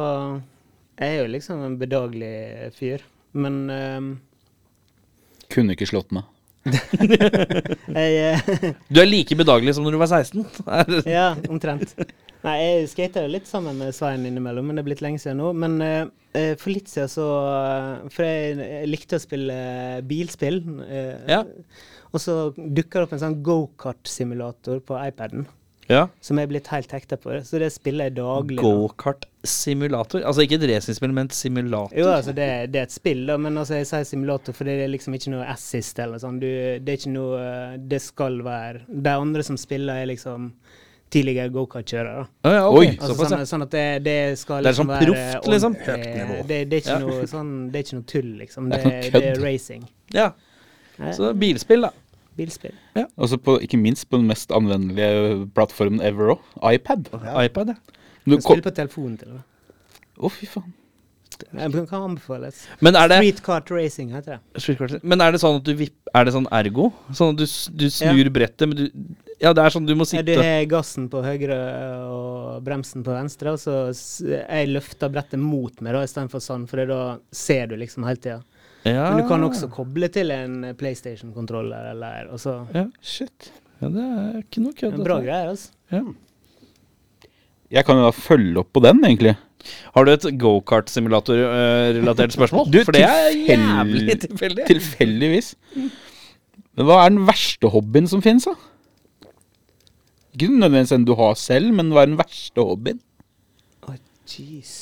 E: Jeg er jo liksom en bedagelig fyr. Men eh,
B: Kunne ikke slått meg.
E: jeg eh,
A: Du er like bedagelig som når du var 16.
E: Ja, omtrent. Nei, jeg skater jo litt sammen med Svein innimellom, men det er blitt lenge siden nå. Men eh, eh, for litt siden så eh, For jeg, jeg likte å spille bilspill. eh,
A: Ja.
E: Og så dukka det opp en sånn gokart-simulator på iPaden
A: Ja.
E: som jeg er blitt helt hekta på. Så det spiller jeg daglig. nå.
A: Gokart-simulator. Altså ikke et racingspill, men et simulator.
E: Jo, altså det, det er et spill, da, men altså jeg sier simulator fordi det er liksom ikke noe assist eller noe sånt. Du, det er ikke noe eh, Det skal være De andre som spiller, er liksom tidligere gokart-kjørere. da.
A: Å ja, ok.
B: Oi.
E: Altså,
A: Såpass,
E: sånn,
A: ja.
E: sånn at det, det
A: Det
E: skal
A: er sånn
E: være
A: proft, liksom.
E: ordentlig-
A: Høyt nivå.
E: Det, det, er ikke
A: Ja.
E: noe sånn, det er ikke noe tull, liksom.
B: Det er
E: Det,
B: ikke noe
E: det er
B: kødd.
E: racing.
A: ja.
E: Nei,
A: Så det er bilspill, da.
E: Bilspill.
B: Også Altså på, ikke minst på den mest anvendelige plattformen ever òg, iPad.
A: iPad, ja.
B: Du
E: Kan
B: kom-
E: spille på telefonen til og med.
B: Å, fy faen.
E: Den kan anbefales.
A: Men er det
E: Street Kart Racing heter det.
A: Street Cart- Men er det sånn at du vipp, Er det sånn ergo? Sånn at du, s- du snur brettet, men du Ja, det er sånn du må
E: Ja, du
A: sitte
E: har gassen på høyre eh, og bremsen på venstre, og så s- jeg løfter brettet mot meg da, istedenfor sånn, for da ser du liksom hele tida.
A: ja.
E: Men du kan også
A: Ah.
E: koble til en eh, PlayStation-kontroller eller og så
A: ja. Shit. Ja, det er ikke noe kødd.
E: Men Bra
A: dette.
E: greier, altså.
B: Jeg kan jo da følge opp på den, egentlig.
A: Har du et gokart-simulator-relatert spørsmål?
B: Du,
A: For det er
B: tilfell-
A: jævlig tilfeldig.
B: Tilfeldigvis. Men hva er den verste hobbyen som fins, da? Ikke nødvendigvis en du har selv, men hva er den verste hobbyen?
E: Å, jeez.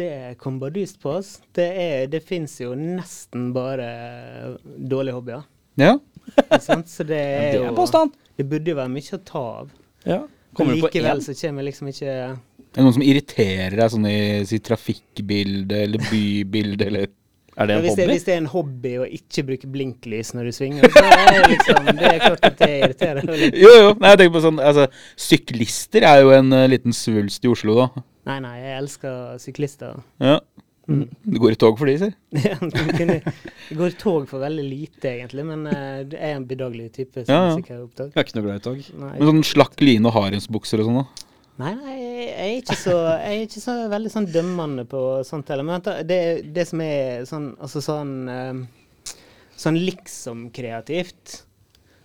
E: Det kom bardust på oss. Det, er- det fins jo nesten bare eh, dårlige hobbyer.
B: Ja.
E: Ikke sant? Så det er
A: Det
E: jo
A: er påstand.
E: Det burde jo være mye å ta av.
A: Ja.
E: Men
A: Kommer du på
E: likevel
A: én?
E: så kommer liksom ikke
B: Er det noen som irriterer deg sånn i sitt trafikkbilde eller bybilde eller
A: Er det
E: Ja,
A: en
E: hvis, det,
A: hobby?
E: hvis det er en hobby å ikke bruke blinklys når du svinger, så er det liksom Det er klart at det irriterer. meg litt.
B: Jo, jo. Nei, jeg tenker på sånn Altså, syklister er jo en eh, liten svulst i Oslo, da.
E: Nei, nei, jeg elsker syklister.
B: Ja.
A: Mm.
B: Du går i tog for de, sier.
E: Ja, men kunne- Jeg går i tog for veldig lite, egentlig, men eh, det er en bedagelig type som
B: Ja, ja.
E: sikkert er opptatt.
A: Jeg er ikke noe glad i tog.
E: Nei.
B: Med sånn slakk line og haremsbukser og sånn, da.
E: Nei, nei, jeg er ikke så, jeg er ikke så veldig sånn dømmende på sånt heller. Men vent da, det, det som er sånn Altså sånn eh, Sånn liksom kreativt.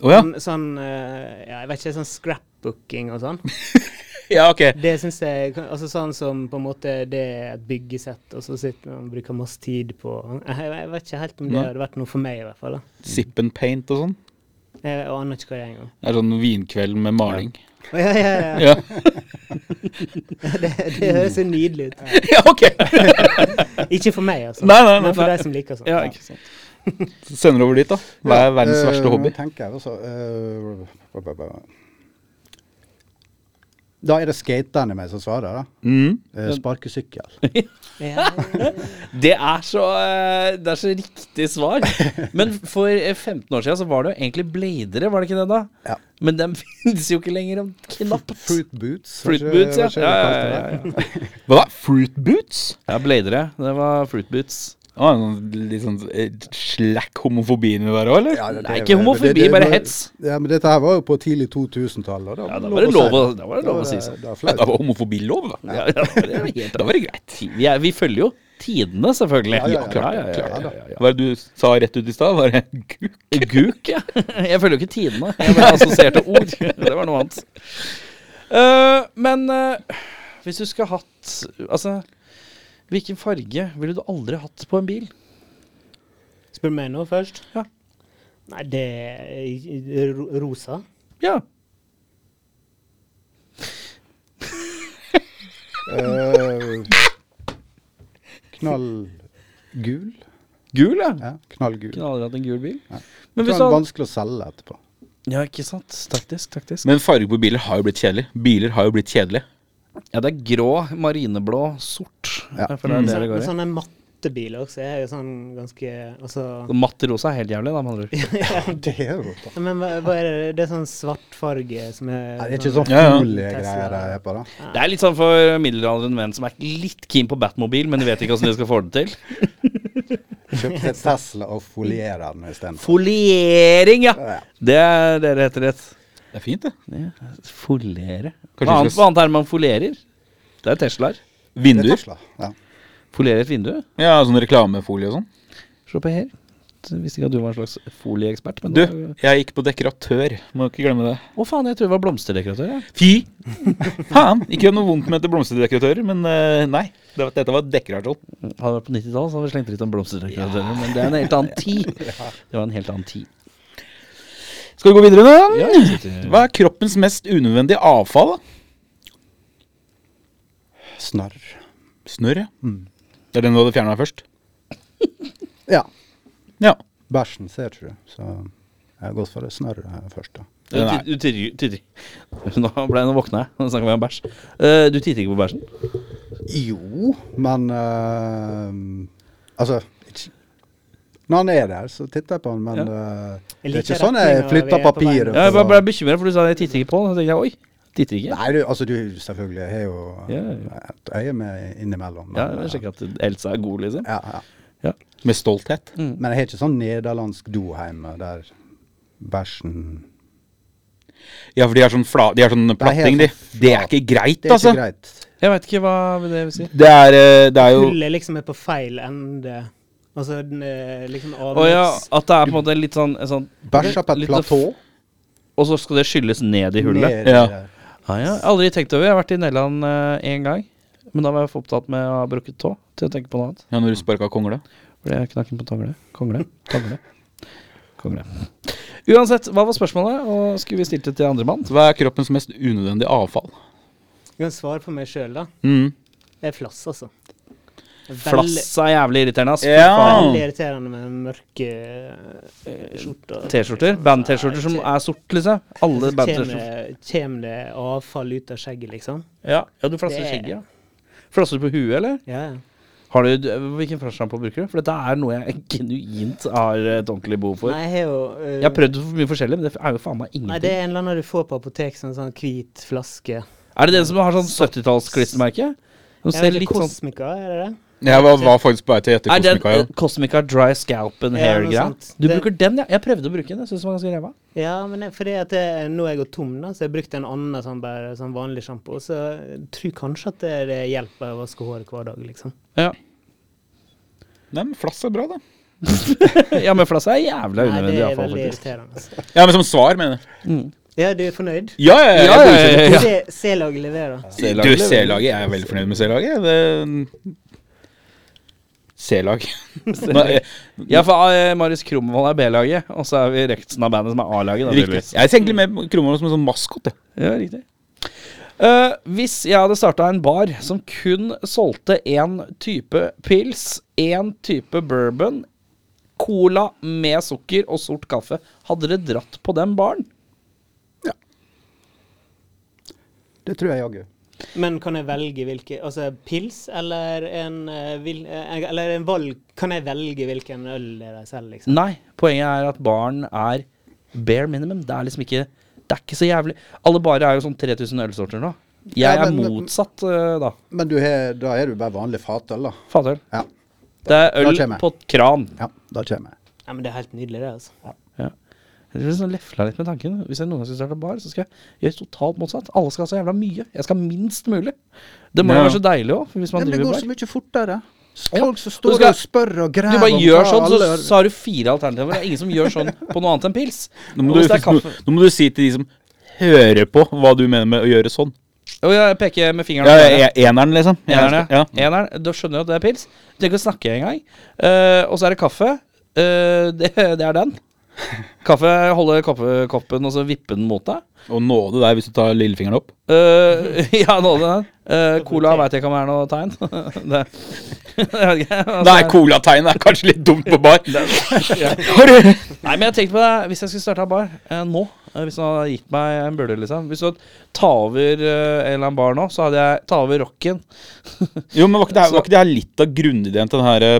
B: Å ja.
E: Sånn, sånn eh, ja, jeg vet ikke, sånn scrapbooking og sånn.
B: Ja, ok.
E: Det syns jeg kan- Altså sånn som på en måte det er et byggesett, og så sitter man og bruker masse tid på jeg, jeg vet ikke helt om det
B: Nei.
E: hadde vært noe for meg, i hvert fall. da.
B: Zip and paint og sånn.
E: Jeg, jeg aner ikke hva det er engang.
B: Det er sånn vinkveld med maling.
E: Å, Ja, ja, ja.
B: Ja,
E: Det, det høres jo nydelig ut.
B: ja ok.
E: Ikke for meg, altså.
B: Nei, nei, nei,
E: men for
B: nei.
E: de som liker sånt.
A: Ja, ikke sant.
B: Sender over dit, da. Hva er verdens
D: Ja,
B: verste
D: eh,
B: hobby?
D: nå tenker jeg altså eh, ba, ba, ba. Da er det skateren i meg som svarer, da.
B: Mm.
D: Eh, Sparkesykkel.
E: Ja,
A: Det er, så, eh, det er så riktig svar. Men for eh, 15 år siden så var det jo egentlig bladere, var det ikke det da?
D: Ja.
A: Men de finnes jo ikke lenger om knapt.
D: Fruit boots.
A: Fruit
D: hva skjer-
A: boots, ja.
D: hva skjer det
A: Ja,
D: kalte
A: ja,
D: det?
A: ja, ja.
B: Hva da? Fruit boots?
A: ja, bladere. Det var fruit boots.
B: Å, en sånn, litt sånn eh, slack homofobi inni der òg, eller?
D: Ja, det-
A: Nei,
D: det-
A: ikke homofobi,
D: det- det-
A: bare
D: det-
A: hets.
D: Ja, men Dette her var jo på tidlig 2000-tall. og
A: Ja, da
D: lov
A: var det lov
D: si
A: å, da var det lov å si sånn.
D: Da var
B: Da
D: det flaut.
B: var homofobilov, da.
A: Ja, ja, det var helt-
B: Da var det greit.
A: vi, er, vi følger jo tidene, selvfølgelig.
D: Ja, ja, ja,
A: klart,
D: klart,
A: ja, ja,
D: klart.
A: ja, ja.
B: Hva er det du sa rett ut i stad? Var det guk?
A: Guk, ja. Jeg følger jo ikke tidene. Jeg bare assosierte ord. Det var noe annet. Eh, men eh, hvis du skulle hatt Altså, hvilken farge ville du aldri hatt på en bil?
E: Spør du meg nå først?
A: Ja.
E: Nei, det er ro- rosa.
A: Ja.
D: Eh, Knallgul.
A: Gul, ja.
D: Ja, knallgul.
A: Kunne aldri hatt en gul bil.
D: Nei.
A: Men
D: Sånn
A: hvis du hadde
D: Vanskelig å selge etterpå.
A: Ja, ikke sant. Taktisk, taktisk.
B: Men farge på biler har jo blitt kjedelig. Biler har jo blitt kjedelige.
A: Ja, det er grå, marineblå, sort.
D: Ja.
A: Jeg føler det er det det
E: Mm. Men sånn-
A: går i.
E: sånne mattebiler også er jo sånn ganske Altså
A: Matt rosa er helt jævlig, da, med andre ord.
D: Det er jo
E: Nei, Men hva, hva er det? Det er sånn svartfarge som er
D: Nei, det er ikke sånn
B: Ja, ja.
D: fuglige greier de er på, da.
A: Det er litt sånn for middelaldrende menn som er litt keen på Batmobil, men de vet ikke åssen de skal få det til.
D: Kjøpte Tesla og folierer den istedenfor.
A: Foliering, ja!
D: Ja.
A: Det er det det heter rett.
B: Det er fint, det.
A: Folere hva
B: Kanskje vi
A: annet,
B: skal-
A: hva annet er det man folerer? Det er Teslaer.
D: Det er
B: Vinduer.
D: Tesla. Ja.
A: Folere et vindu.
B: Ja, sånn reklamefolie og sånn.
A: Se på her. visste ikke at du var en slags folieekspert. men
B: Du,
A: det var-
B: jeg gikk på dekoratør. Må ikke glemme det.
A: Å faen, jeg tror jeg var blomsterdekoratør. jeg.
B: Fy faen! Ikke gjør noe vondt med etter blomsterdekoratører, men eh, nei. Det var, dette var dekorasjon.
A: Hadde det vært på 90-tallet, så hadde vi slengt dritt om blomsterdekoratører. Men det er en helt annen tid. Det var en helt annen tid.
B: Skal vi gå videre, da?
A: Ja, jeg sitter-
B: Hva er kroppens mest unødvendige avfall? da?
D: Snarr.
B: Snørr, ja.
D: Mm.
B: Det er den du hadde fjerna først?
D: Ja.
B: Ja.
D: Bæsjen ser ikke du, så jeg har gått for det snørret her først. da.
A: Du tit- du titter- titter Nå ble jeg, nå våkna jeg. Nå snakka vi om bæsj. Eh, Du titter ikke på bæsjen?
D: Jo, men eh, Altså ikke. Når han er der, så titter jeg på han, men eh, det
E: Jeg
D: er ikke
E: liker
D: sånn jeg
E: retningen vi
D: flytter
E: er på
D: papiret.
E: veien.
A: Ja, jeg
D: på-
A: bare ble bekymra, for du sa jeg titter ikke på. den. Så tenkte jeg oi, titter ikke.
D: Nei, du, altså du selvfølgelig jeg har jo
A: Ja, ja.
D: et øye med innimellom. men, eh,
A: Ja, jeg sjekker at Elsa er god, liksom.
D: ja, ja.
B: Med stolthet.
D: Men jeg har ikke sånn nederlandsk do hjemme der bæsjen
B: Ja, for de har sånn, fla, de har sånn platting, de.
D: helt sånn
B: Det er
D: flat.
B: ikke greit,
D: Det er
B: altså.
D: ikke greit.
A: Jeg veit ikke hva det vil si.
B: Det er, eh, det er jo
E: Hullet liksom er på feil ende. Altså den eh, liksom
A: Å ja,
E: avløps...
A: at det er på en måte litt sånn, en sånn
D: Bæsja på et
A: litt sånn-
D: platå.
A: Og så skal det skylles ned i hullet?
D: ned i
B: Ja.
D: der.
A: Ah, ja. Aldri tenkt over. Jeg har vært i Nederland én gang. Men da var jeg for opptatt med å ha brukket tå til å tenke på noe annet.
B: Ja, når du sparka kongle.
A: Fordi jeg knakk den på tangle. Kongle. Tangle. Kongle. Uansett, hva var spørsmålet? Og skulle vi stilt det til andre mann?
B: Hva er kroppens mest unødvendige avfall?
E: Jeg kan svare for meg sjøl, da.
B: Mm.
E: Det er flass, altså. Veldig-
A: Flass er jævlig irriterende, ass. Fy faen.
E: Veldig irriterende med mørke eh, skjorter.
A: T-skjorter. Band-T-skjorter som er sort, liksom. Alle band-T-skjorter.
E: Kjem det avfall ut av skjegget, liksom?
A: Ja. ja, du flasser i
E: Det-
A: skjegget, ja. Flasser du på huet, eller?
E: Ja, ja.
A: Har du, d- hvilken flasjelampe bruker du? For dette er noe jeg genuint har eh, et ordentlig behov for.
E: Nei, jeg har jo eh,
A: Jeg har prøvd for mye forskjellig, men det er jo faen meg
E: Nei,
A: ingenting.
E: det er en eller annen du får på apotek, sånn sånn hvit flaske.
A: Er det den som har sånn 70-tallsklistremerke? Som
E: Jeg
A: ser
E: vet
A: litt
E: ikke,
A: sånn
E: Cosmica, er det det?
B: Jeg var, var faktisk på vei til å gjette
A: Er den
B: Cosmica.
A: eh,
B: ja.
A: Cosmica Dry Scalp and
E: Ja, noe
A: Hair-greia?
E: sånt.
A: Du
E: Det-
A: bruker den, ja? Jeg prøvde å bruke den, jeg syns den var ganske ræva.
E: Ja, men det, fordi at det, nå er jeg gått tom, da, så jeg brukte en annen sånn, bare, sånn vanlig sjampo. Så jeg tror kanskje at det, det hjelper å vaske håret hver dag, liksom.
A: Ja.
B: Nei, men flass er bra, da.
A: ja, men flass er jævla
E: Nei, det
A: unødvendig,
E: er
A: iallfall,
E: veldig
A: faktisk.
E: irriterende. altså.
B: Ja, men som svar, mener jeg.
E: Ja, du er fornøyd?
B: Ja, ja, ja.
A: Ja,
B: jeg
A: ja, ja, ja.
E: Se- C-laget leverer.
B: godkjenner. Du, C-laget. Jeg er veldig fornøyd med C-laget. Det- C-lag. Nå, eh, jeg-
A: Ja, for eh, Marius Kromvold er B-laget, og så er vi resten av bandet som er A-laget. da,
B: Riktig.
A: tydeligvis.
B: Jeg tenker mer på Kromoen som en sånn maskot. jeg.
A: Ja, riktig. Eh, hvis jeg hadde starta en bar som kun solgte én type pils, én type bourbon, cola med sukker og sort kaffe, hadde dere dratt på den baren?
D: Det tror jeg jaggu.
E: Men kan jeg velge hvilke Altså pils eller en, eh, vil, eh, eller en valg Kan jeg velge hvilken øl det er selv, liksom?
A: Nei. Poenget er at baren er bare minimum. Det er liksom ikke Det er ikke så jævlig Alle barer er jo sånn 3000 ølsorter nå. Jeg
D: Ja,
A: er
D: men-
A: motsatt, eh, da.
D: Men du har, da er du bare vanlig fatøl, da.
A: Fatøl.
D: Ja,
A: Det er øl
D: kjem jeg.
A: på kran.
D: ja da kommer jeg.
E: Ja, men det er helt nydelig, det, altså.
A: Mm. Ja. Jeg tror liksom lefla litt med tanken. Hvis jeg noen gang skal starte bar, så skal jeg gjøre totalt motsatt. Alle skal ha så jævla mye. Jeg skal ha minst mulig. Det må jo
B: Ja.
A: være så deilig òg, hvis man
D: Men det
A: driver
D: går så
A: bar.
D: mye fortere.
A: Ja.
D: Folk som
A: Du
D: står
A: skal-
D: og spør og
A: Du
D: graver
A: bare gjør sånn, så,
D: alle-
A: så har du fire alternativer. Det er ingen som gjør sånn på noe annet enn pils.
B: Nå må,
A: Og
B: du,
A: hvis det er kaffe
B: nå må du si til de som hører på, hva du mener med å gjøre sånn.
A: Og jeg peker med fingeren.
B: Ja,
A: på
B: ja, e- eneren, liksom.
A: Eneren, ja.
B: Ja.
A: Eneren, da skjønner du at det er pils. Du trenger ikke å snakke engang. Uh, og så er det kaffe. Eh, det, det er den. Kaffe holde kaffe- koppen og så vippe den mot deg.
B: Og nåde deg hvis du tar lillefingeren opp.
A: Eh, ja, nå det den. Eh, cola veit jeg ikke om er noe tegn. det, jeg vet ikke. Altså,
B: Nei, colategnet er kanskje litt dumt på bar. Har du-
A: nei, men jeg tenkte på det. Hvis jeg skulle starta bar eh, nå eh, Hvis noen hadde gitt meg en bølle, liksom Hvis du hadde ta over eh, en eller annen bar nå, så hadde jeg ta over rocken.
B: Jo, men var ikke det her, var ikke det her litt av grunnideen til den her eh,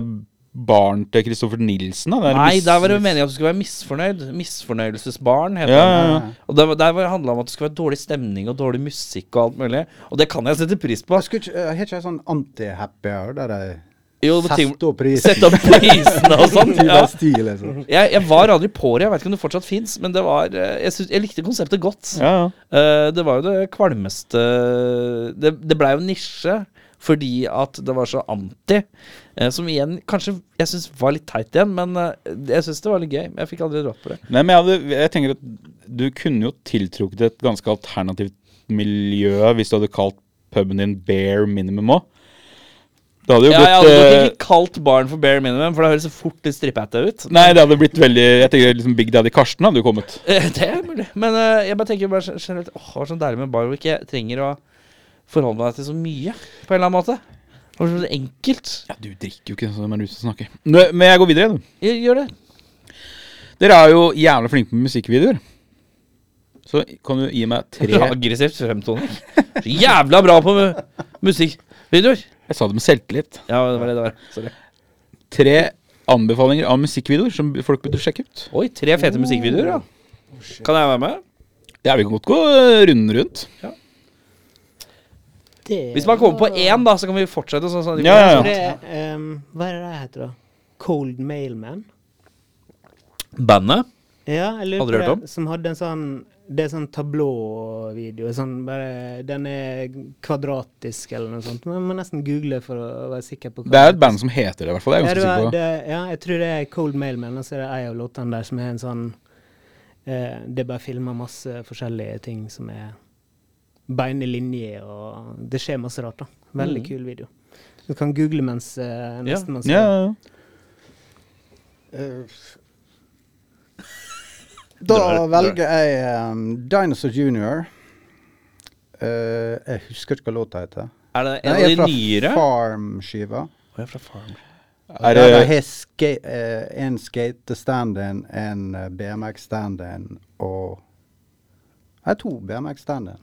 B: baren til Christoffer Nilsen? Da? Den her
A: Nei,
B: mis-
A: der var det meningen at du skulle være misfornøyd. Misfornøyelsesbarn, heter
B: Ja,
A: det.
B: ja, ja.
A: Og der, der var det handla om at det skulle være dårlig stemning og dårlig musikk og alt mulig. Og det kan jeg sette pris på.
D: Jeg skulle ikke- jeg Har ikke jeg sånn anti-happy hour der jeg
A: Jo, ting,
D: setter opp prisen?
A: sette opp prisene og sånn.
D: Til
A: Ja.
D: den stil, liksom.
A: Jeg, jeg var aldri på det, jeg vet ikke om det fortsatt fins, men det var, eh, jeg, syns- jeg likte konseptet godt.
B: Ja, ja.
A: Eh, det var jo det kvalmeste Det, det blei jo nisje, fordi at det var så anti. eh, Som igjen kanskje jeg syns var litt teit igjen, men eh, jeg syns det var litt gøy. men Jeg fikk aldri dratt på det.
B: Nei, men jeg, hadde, jeg tenker at du kunne jo tiltrukket et ganske alternativt miljø hvis du hadde kalt puben din bare minimum òg. Det hadde jo
A: Ja,
B: blitt
A: jeg hadde nok
B: eh,
A: ikke kalt baren for bare minimum, for det høres så fort litt strippete ut.
B: Nei, det hadde blitt veldig Jeg tenker liksom Big Daddy Karsten hadde jo kommet.
A: Eh, Det er mulig. Men eh, jeg bare tenker bare gen- generelt Åh, det var så deilig med en bar hvor ikke jeg trenger å forholde meg til så mye, på en eller annen måte. Det var så enkelt.
B: Ja, du drikker jo ikke sånn med rusen snakker. Nå, Men jeg går videre. du.
A: Gjør gjør det.
B: Dere er jo jævla flinke med musikkvideoer. Så kan du gi meg tre Jeg
A: Aggressivt fremtoning. Så Jævla bra på mu- musikkvideoer.
B: sa det med selvtillit.
A: Ja, det var det det var. Sorry.
B: Tre anbefalinger av musikkvideoer som folk burde sjekke ut.
A: Oi, tre fete musikkvideoer, ja. Kan jeg være med?
B: Ja, vi kan godt gå eh, runden rundt.
E: Det
A: Hvis man kommer på én, da, så kan vi fortsette sånn. sånn.
B: Ja, ja,
E: var- Det, ehm, hva er det det heter, da? Cold Mailman?
A: Bandet?
E: Ja, jeg lurer
A: Hadde du
E: på
A: hørt
E: det,
A: om?
E: Som hadde en sånn Det er sånn tablåvideo. Sånn bare, den er kvadratisk eller noe sånt. Men jeg må nesten google for å være sikker på hva
B: Det er et band som heter det, i hvert fall. Jeg
E: Ja,
B: er
E: det
B: ganske sikker på
E: var, det, ja, jeg tror det er Cold Mailman, og så er det ei av låtene der som er en sånn eh, Det er bare filma masse forskjellige ting som er bein i linje, og det skjer masse rart, da. Veldig kul video. Du kan google mens eh, nesten man
B: Mm. Ja,
E: ser.
B: ja, ja.
D: Eh, Da velger jeg ehm, Dinosaur Junior. Eh, jeg husker ikke hva låta heter.
A: Er det en
D: Den
A: av
D: er
A: de
D: fra
A: nyere?
D: Farm-skiva.
A: Å, jeg er fra Farm.
B: Er
D: Der de
B: det-
D: har ska eh, en skate-stand-in, en eh, BMX-stand-in og Det er to BMX-stand-in.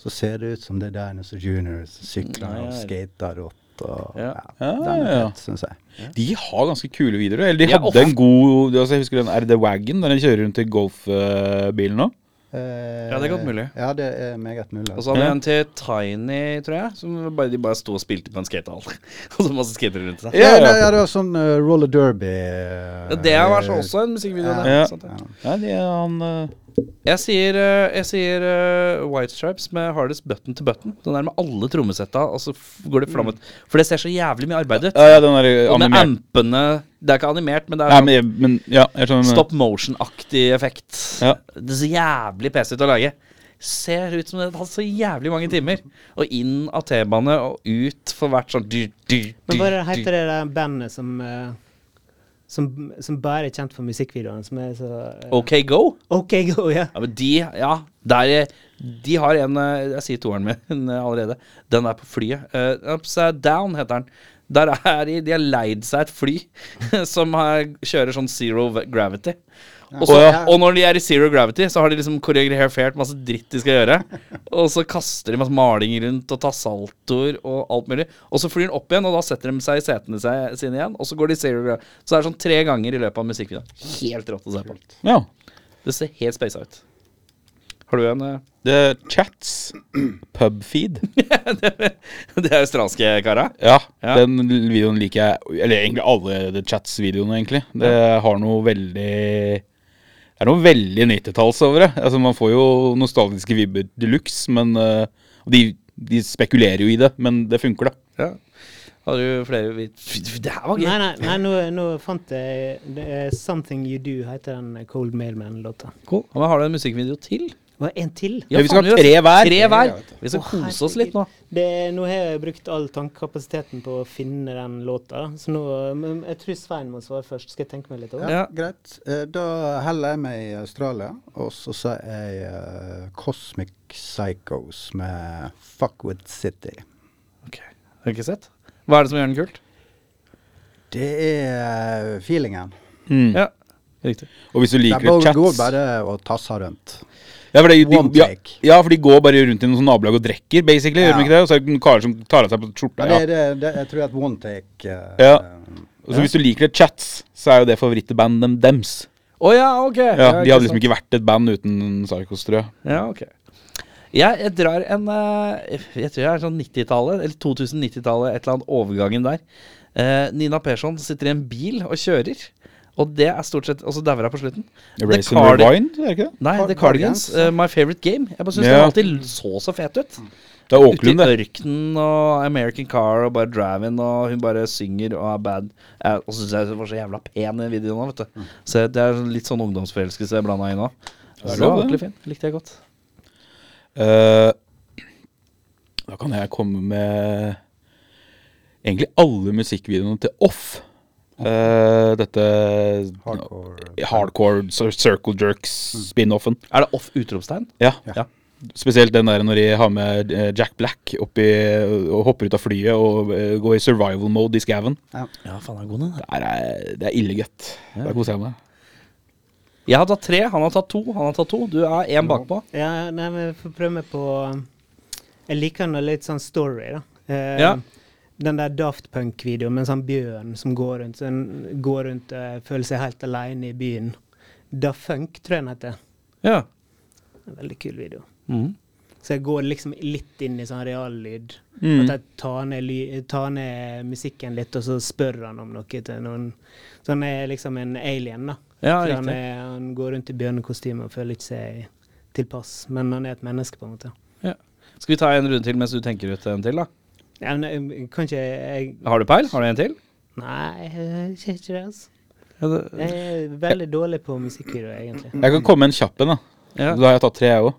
D: Så ser det ut som det er Dinosaur Junior som sykler og skater rått. Og,
A: Ja.
D: Den er
B: Ja, ja.
D: fett, syns jeg.
B: De har ganske kule videoer. Eller de
A: Ja,
B: hadde en god altså Jeg husker den RD Wagon, der de kjører rundt i golfbilen nå.
D: Eh,
A: Ja, det er godt mulig.
D: Ja, det er meget mulig.
A: Og så hadde vi
B: Ja.
A: en til Tiny, tror jeg. Som bare, de bare sto og spilte på en skatehall. og så masse skatere rundt seg.
D: ja, ja, ja, det var sånn eh, roller derby. eh,
A: Ja, det var så også en musikkvideo.
D: Ja.
A: det.
B: Ja.
A: Sant det.
B: Nei, de, han eh,
A: Jeg sier, eh, jeg sier eh, White Stripes med hardest button to button. Den der med alle trommesetta, og så f- går det flammet. For det ser så jævlig mye arbeid ut.
B: Mm. Ja, ja, den der
A: Og med
B: animert
A: ampene Det er ikke animert, men det
B: Nei,
A: er sånn
B: men, men ja, jeg skjønner.
A: stop motion-aktig effekt.
B: Ja.
A: Det ser jævlig pes ut å lage. Ser ut som det har tatt så jævlig mange timer. Og inn av T-bane og ut for hvert sånn dyr, dyr,
E: Men hva er det-
A: dyr, dyr.
E: heter det der bandet som eh, som, som bare er kjent for musikkvideoene, som er så eh,
A: OK Go?
E: OK, go, ja.
A: Ja, men de Ja, der er, de har en eh, Jeg sier toeren min eh, allerede. Den er på flyet. Eh, Upside Down heter den. Der er de De har leid seg et fly som har, kjører sånn zero v- gravity. Og, så,
B: Å, ja.
A: og når de er i zero gravity, så har de liksom koreografert masse dritt de skal gjøre. Og så kaster de masse maling rundt og tar saltoer og alt mulig. Og så flyr den opp igjen, og da setter de seg i setene seg- sine igjen. Og så går de i zero gravity. Så det er sånn tre ganger i løpet av musikkvideoen. Helt rått å se på.
B: Ja.
A: Det ser helt spasa ut. Har du en eh,
B: Det er Chats. Pubfeed.
A: De australske kara?
B: Ja,
A: Ja.
B: den videoen liker jeg. Eller egentlig alle The Chats-videoene, egentlig. Det har noe veldig Det er noe veldig 90-talls over det. Altså, man får jo nostalgiske vibber de luxe, men eh, Og de, de spekulerer jo i det, men det funker, da.
A: Ja. Har du flere vi- Fy, Det her var gøy.
E: Nei, nei, nei nå, nå fant jeg det er 'Something You Do' heter den Cold Mailman-låta.
A: Cool. Ja, men har du en musikkvideo til?
E: Og en til.
B: Ja, vi skal
A: faen,
B: ha tre hver.
A: Tre hver. Vi skal
E: Å,
A: kose oss litt nå.
E: Det, nå har jeg brukt all tankekapasiteten på å finne den låta. Så nå, eh, men jeg tror Svein må svare først. Skal jeg tenke meg litt over?
D: Ja,
A: Ja.
E: det?
D: Greit. Eh, Da heller jeg meg i Australia, og så sier jeg eh, Cosmic Psychos med Fuckwood City.
A: Ok, Har du ikke sett? Hva er det som gjør den kult?
D: Det er eh, feelingen.
B: Mm.
A: Ja, riktig.
B: Og hvis du
D: De
B: liker The
D: bare går
B: Chats
D: bare og tasser rundt.
B: ja for, de,
D: One
B: de, ja,
D: take.
B: ja, for de går bare rundt i noen sånn nabolag og drikker, basically. Gjør
D: Ja.
B: de ikke det? Og så er det karer som tar av seg på skjorta.
D: Men
B: Ja.
D: det, det, det, jeg tror at one take eh,
B: Ja.
D: eh,
B: Og så hvis du liker The Chats, så er jo det favorittbandet dem- dems.
A: Å ja, ok.
B: Ja, de hadde liksom ikke vært et band uten Sarkos, tror jeg.
A: Ja, ok. Jeg, jeg drar en eh, Jeg tror jeg er sånn 90-tallet, eller 2090-tallet, et eller annet overgangen der. Eh, Nina Persson sitter i en bil og kjører, og det er stort sett Og så dauer hun på slutten. The
B: Erase and
A: Cardi-
B: Rewind, er det ikke det?
A: Nei,
D: Car-
A: The Cardigans.
D: Cardigans.
A: eh, my favorite game. Jeg bare syns
B: Ja.
A: den alltid så så fet ut.
B: Det er
A: Ute i
B: Åkerlund, det.
A: ørkenen og American Car og bare Drive-In, og hun bare synger og er bad. Eh, Og så syns jeg hun var så jævla pen i videoen òg, vet
B: Mm.
A: du. Så det er litt sånn ungdomsforelskelse blanda inn òg.
B: Det er
A: Så
B: lov, det.
A: ordentlig fin. Likte jeg godt.
B: Eh, da kan jeg komme med egentlig alle musikkvideoene til Off. Eh, dette
D: Hardcore.
B: Hardcore Cir- Circle Jerks-spin-offen.
A: Er det off utropstegn?
B: Ja.
A: Ja.
B: Spesielt den der når de har med eh, Jack Black opp i- og hopper ut av flyet og eh, går i survival mode i skauen.
A: Ja, faen er god den.
B: Det er, eh, det er ille godt. Da koser jeg meg.
A: Jeg har tatt tre, han har tatt to, han har tatt to. Du er én bakpå.
E: Ja, nei, men jeg får prøve meg på um, Jeg liker den litt sånn story, da. Eh,
A: Ja.
E: Den der Daft Punk-videoen med en sånn bjørn som går rundt sånn, går rundt og føler seg helt alene i byen. Da Funk, tror jeg den heter.
A: Ja.
E: En veldig kul video.
A: Mhm.
E: Så jeg går liksom litt inn i sånn reallyd.
B: Mm.
E: At jeg tar ned, ly, tar ned musikken litt, og så spør han om noe til noen. Så han er liksom en alien, da.
A: Ja,
E: For han,
A: riktig.
E: er, han går rundt i bjørnekostyme og føler ikke seg tilpass, men han er et menneske, på en måte.
A: Ja. Skal vi ta en runde til mens du tenker ut en til, da?
E: Ja, men jeg, kan ikke jeg
A: Har du peil? Har du en til?
E: Nei, jeg ser ikke det, altså.
A: Ja, det,
E: Jeg er veldig dårlig på musikkvideoer, egentlig.
B: Jeg kan komme med en kjapp en, da.
A: ja.
B: Da har jeg tatt tre, jeg òg.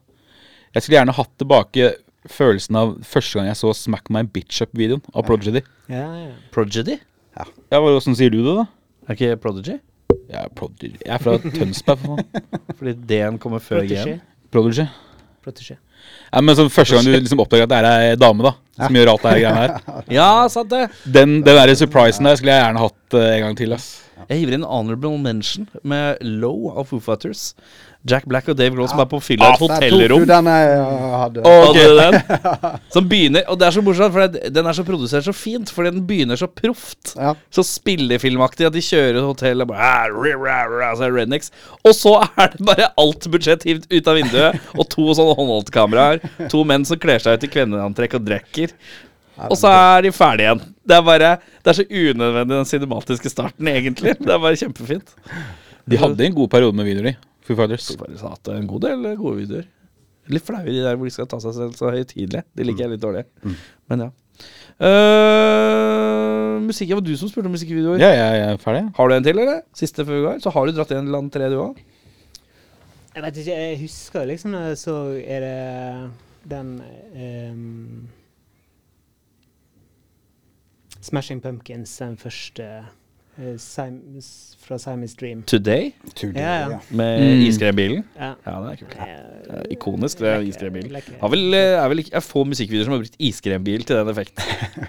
B: Jeg skulle gjerne hatt tilbake følelsen av første gang jeg så Smack My Bitch Up-videoen av Prodigy.
E: Ja, ja.
A: Prodigy?
B: Ja, hva- Åssen sier du det, da?
A: Er ikke Prodigy?
B: Jeg er, Prodigy. Jeg er fra Tønsberg, for faen.
A: Fordi D-en kommer før G-en.
E: Protégé.
B: Prodigy.
E: Protégé.
B: Ja, men som første gang du liksom oppdager at det er ei dame, da. Som gjør alt det her greiene her.
A: Ja, sant det!
B: Den, den der surprisen der skulle jeg gjerne hatt eh, en gang til, ass.
A: Jeg hiver inn honorable mention med Low av Foo Fighters. Jack Black og Dave Grohl som er på fylla i et hotellrom.
D: Den jeg uh, hadde.
A: Hadde du den? Som begynner, og det er så morsomt, for det- den er så produsert så fint, fordi den begynner så proft.
D: Ja.
A: Så spillefilmaktig at de kjører et hotell og bare ah, ri, ra, ra, så er det Rednecks. Og så er det bare alt budsjett hivd ut av vinduet, og to sånne håndholdtkameraer. To menn som kler seg ut i kvenneantrekk og drikker. Og så er de ferdige igjen. Det er bare, det er så unødvendig den cinematiske starten, egentlig. Det er bare kjempefint.
B: De hadde en god periode med videoer, de. Foo Fighters.
A: Foo Fighters har hatt eh, en god del gode videoer. Litt flaue de der hvor de skal ta seg selv så høytidelig. De liker jeg litt dårlig. Men ja. Eh, musikk Det var du som spurte om musikkvideoer.
B: Ja, jeg jeg er ferdig. jeg.
A: Har du en til, eller? Siste før vi går? Så har du dratt igjen land tre, du òg?
E: Jeg vet ikke, jeg husker liksom når jeg så Er det den ehm, Smashing Pumpkins, den første eh, Sim- s- fra Simon's Dream.
A: Today
D: Tudor,
E: Ja, ja.
A: med
B: Mm.
A: iskrembilen.
E: Ja.
A: Ja, det er kult.
E: Eh,
A: Det er ikonisk, det er
E: lekker-
A: iskrembilen.
E: lekker.
A: Har vel, eh, er vel ikke, er få musikkvideoer som har brukt iskrembil til den effekten.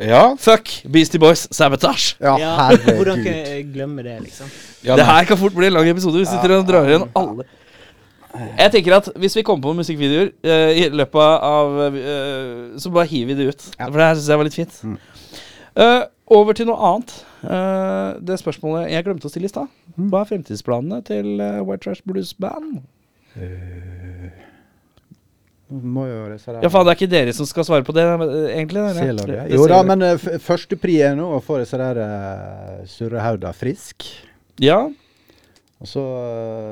B: Ja,
A: Fuck Beastie Boys Sabotage!
D: Ja,
E: Ja, hvordan kan
D: herregud.
E: jeg glemme det, liksom?
B: ja
A: det
B: nei.
A: her kan fort bli en lang episode. Vi sitter og drar igjen alle Jeg tenker at Hvis vi kommer på musikkvideoer eh, i løpet av eh, Så bare hiver vi det ut. For det her syns jeg var litt fint.
D: Mm.
A: Eh, over til noe annet. Eh, det spørsmålet jeg glemte å stille i stad.
D: Mm.
A: Hva er fremtidsplanene til eh, White Trash Blues Band?
D: Eh, Må jo reise der.
A: Ja, faen, Det er ikke dere som skal svare på det, eh, egentlig. dere.
D: Seler, ja.
A: Det- det
D: Jo da,
A: seler.
D: men uh, f- førstepri er nå å få disse der uh, surrehauda frisk.
A: Ja,
D: Og så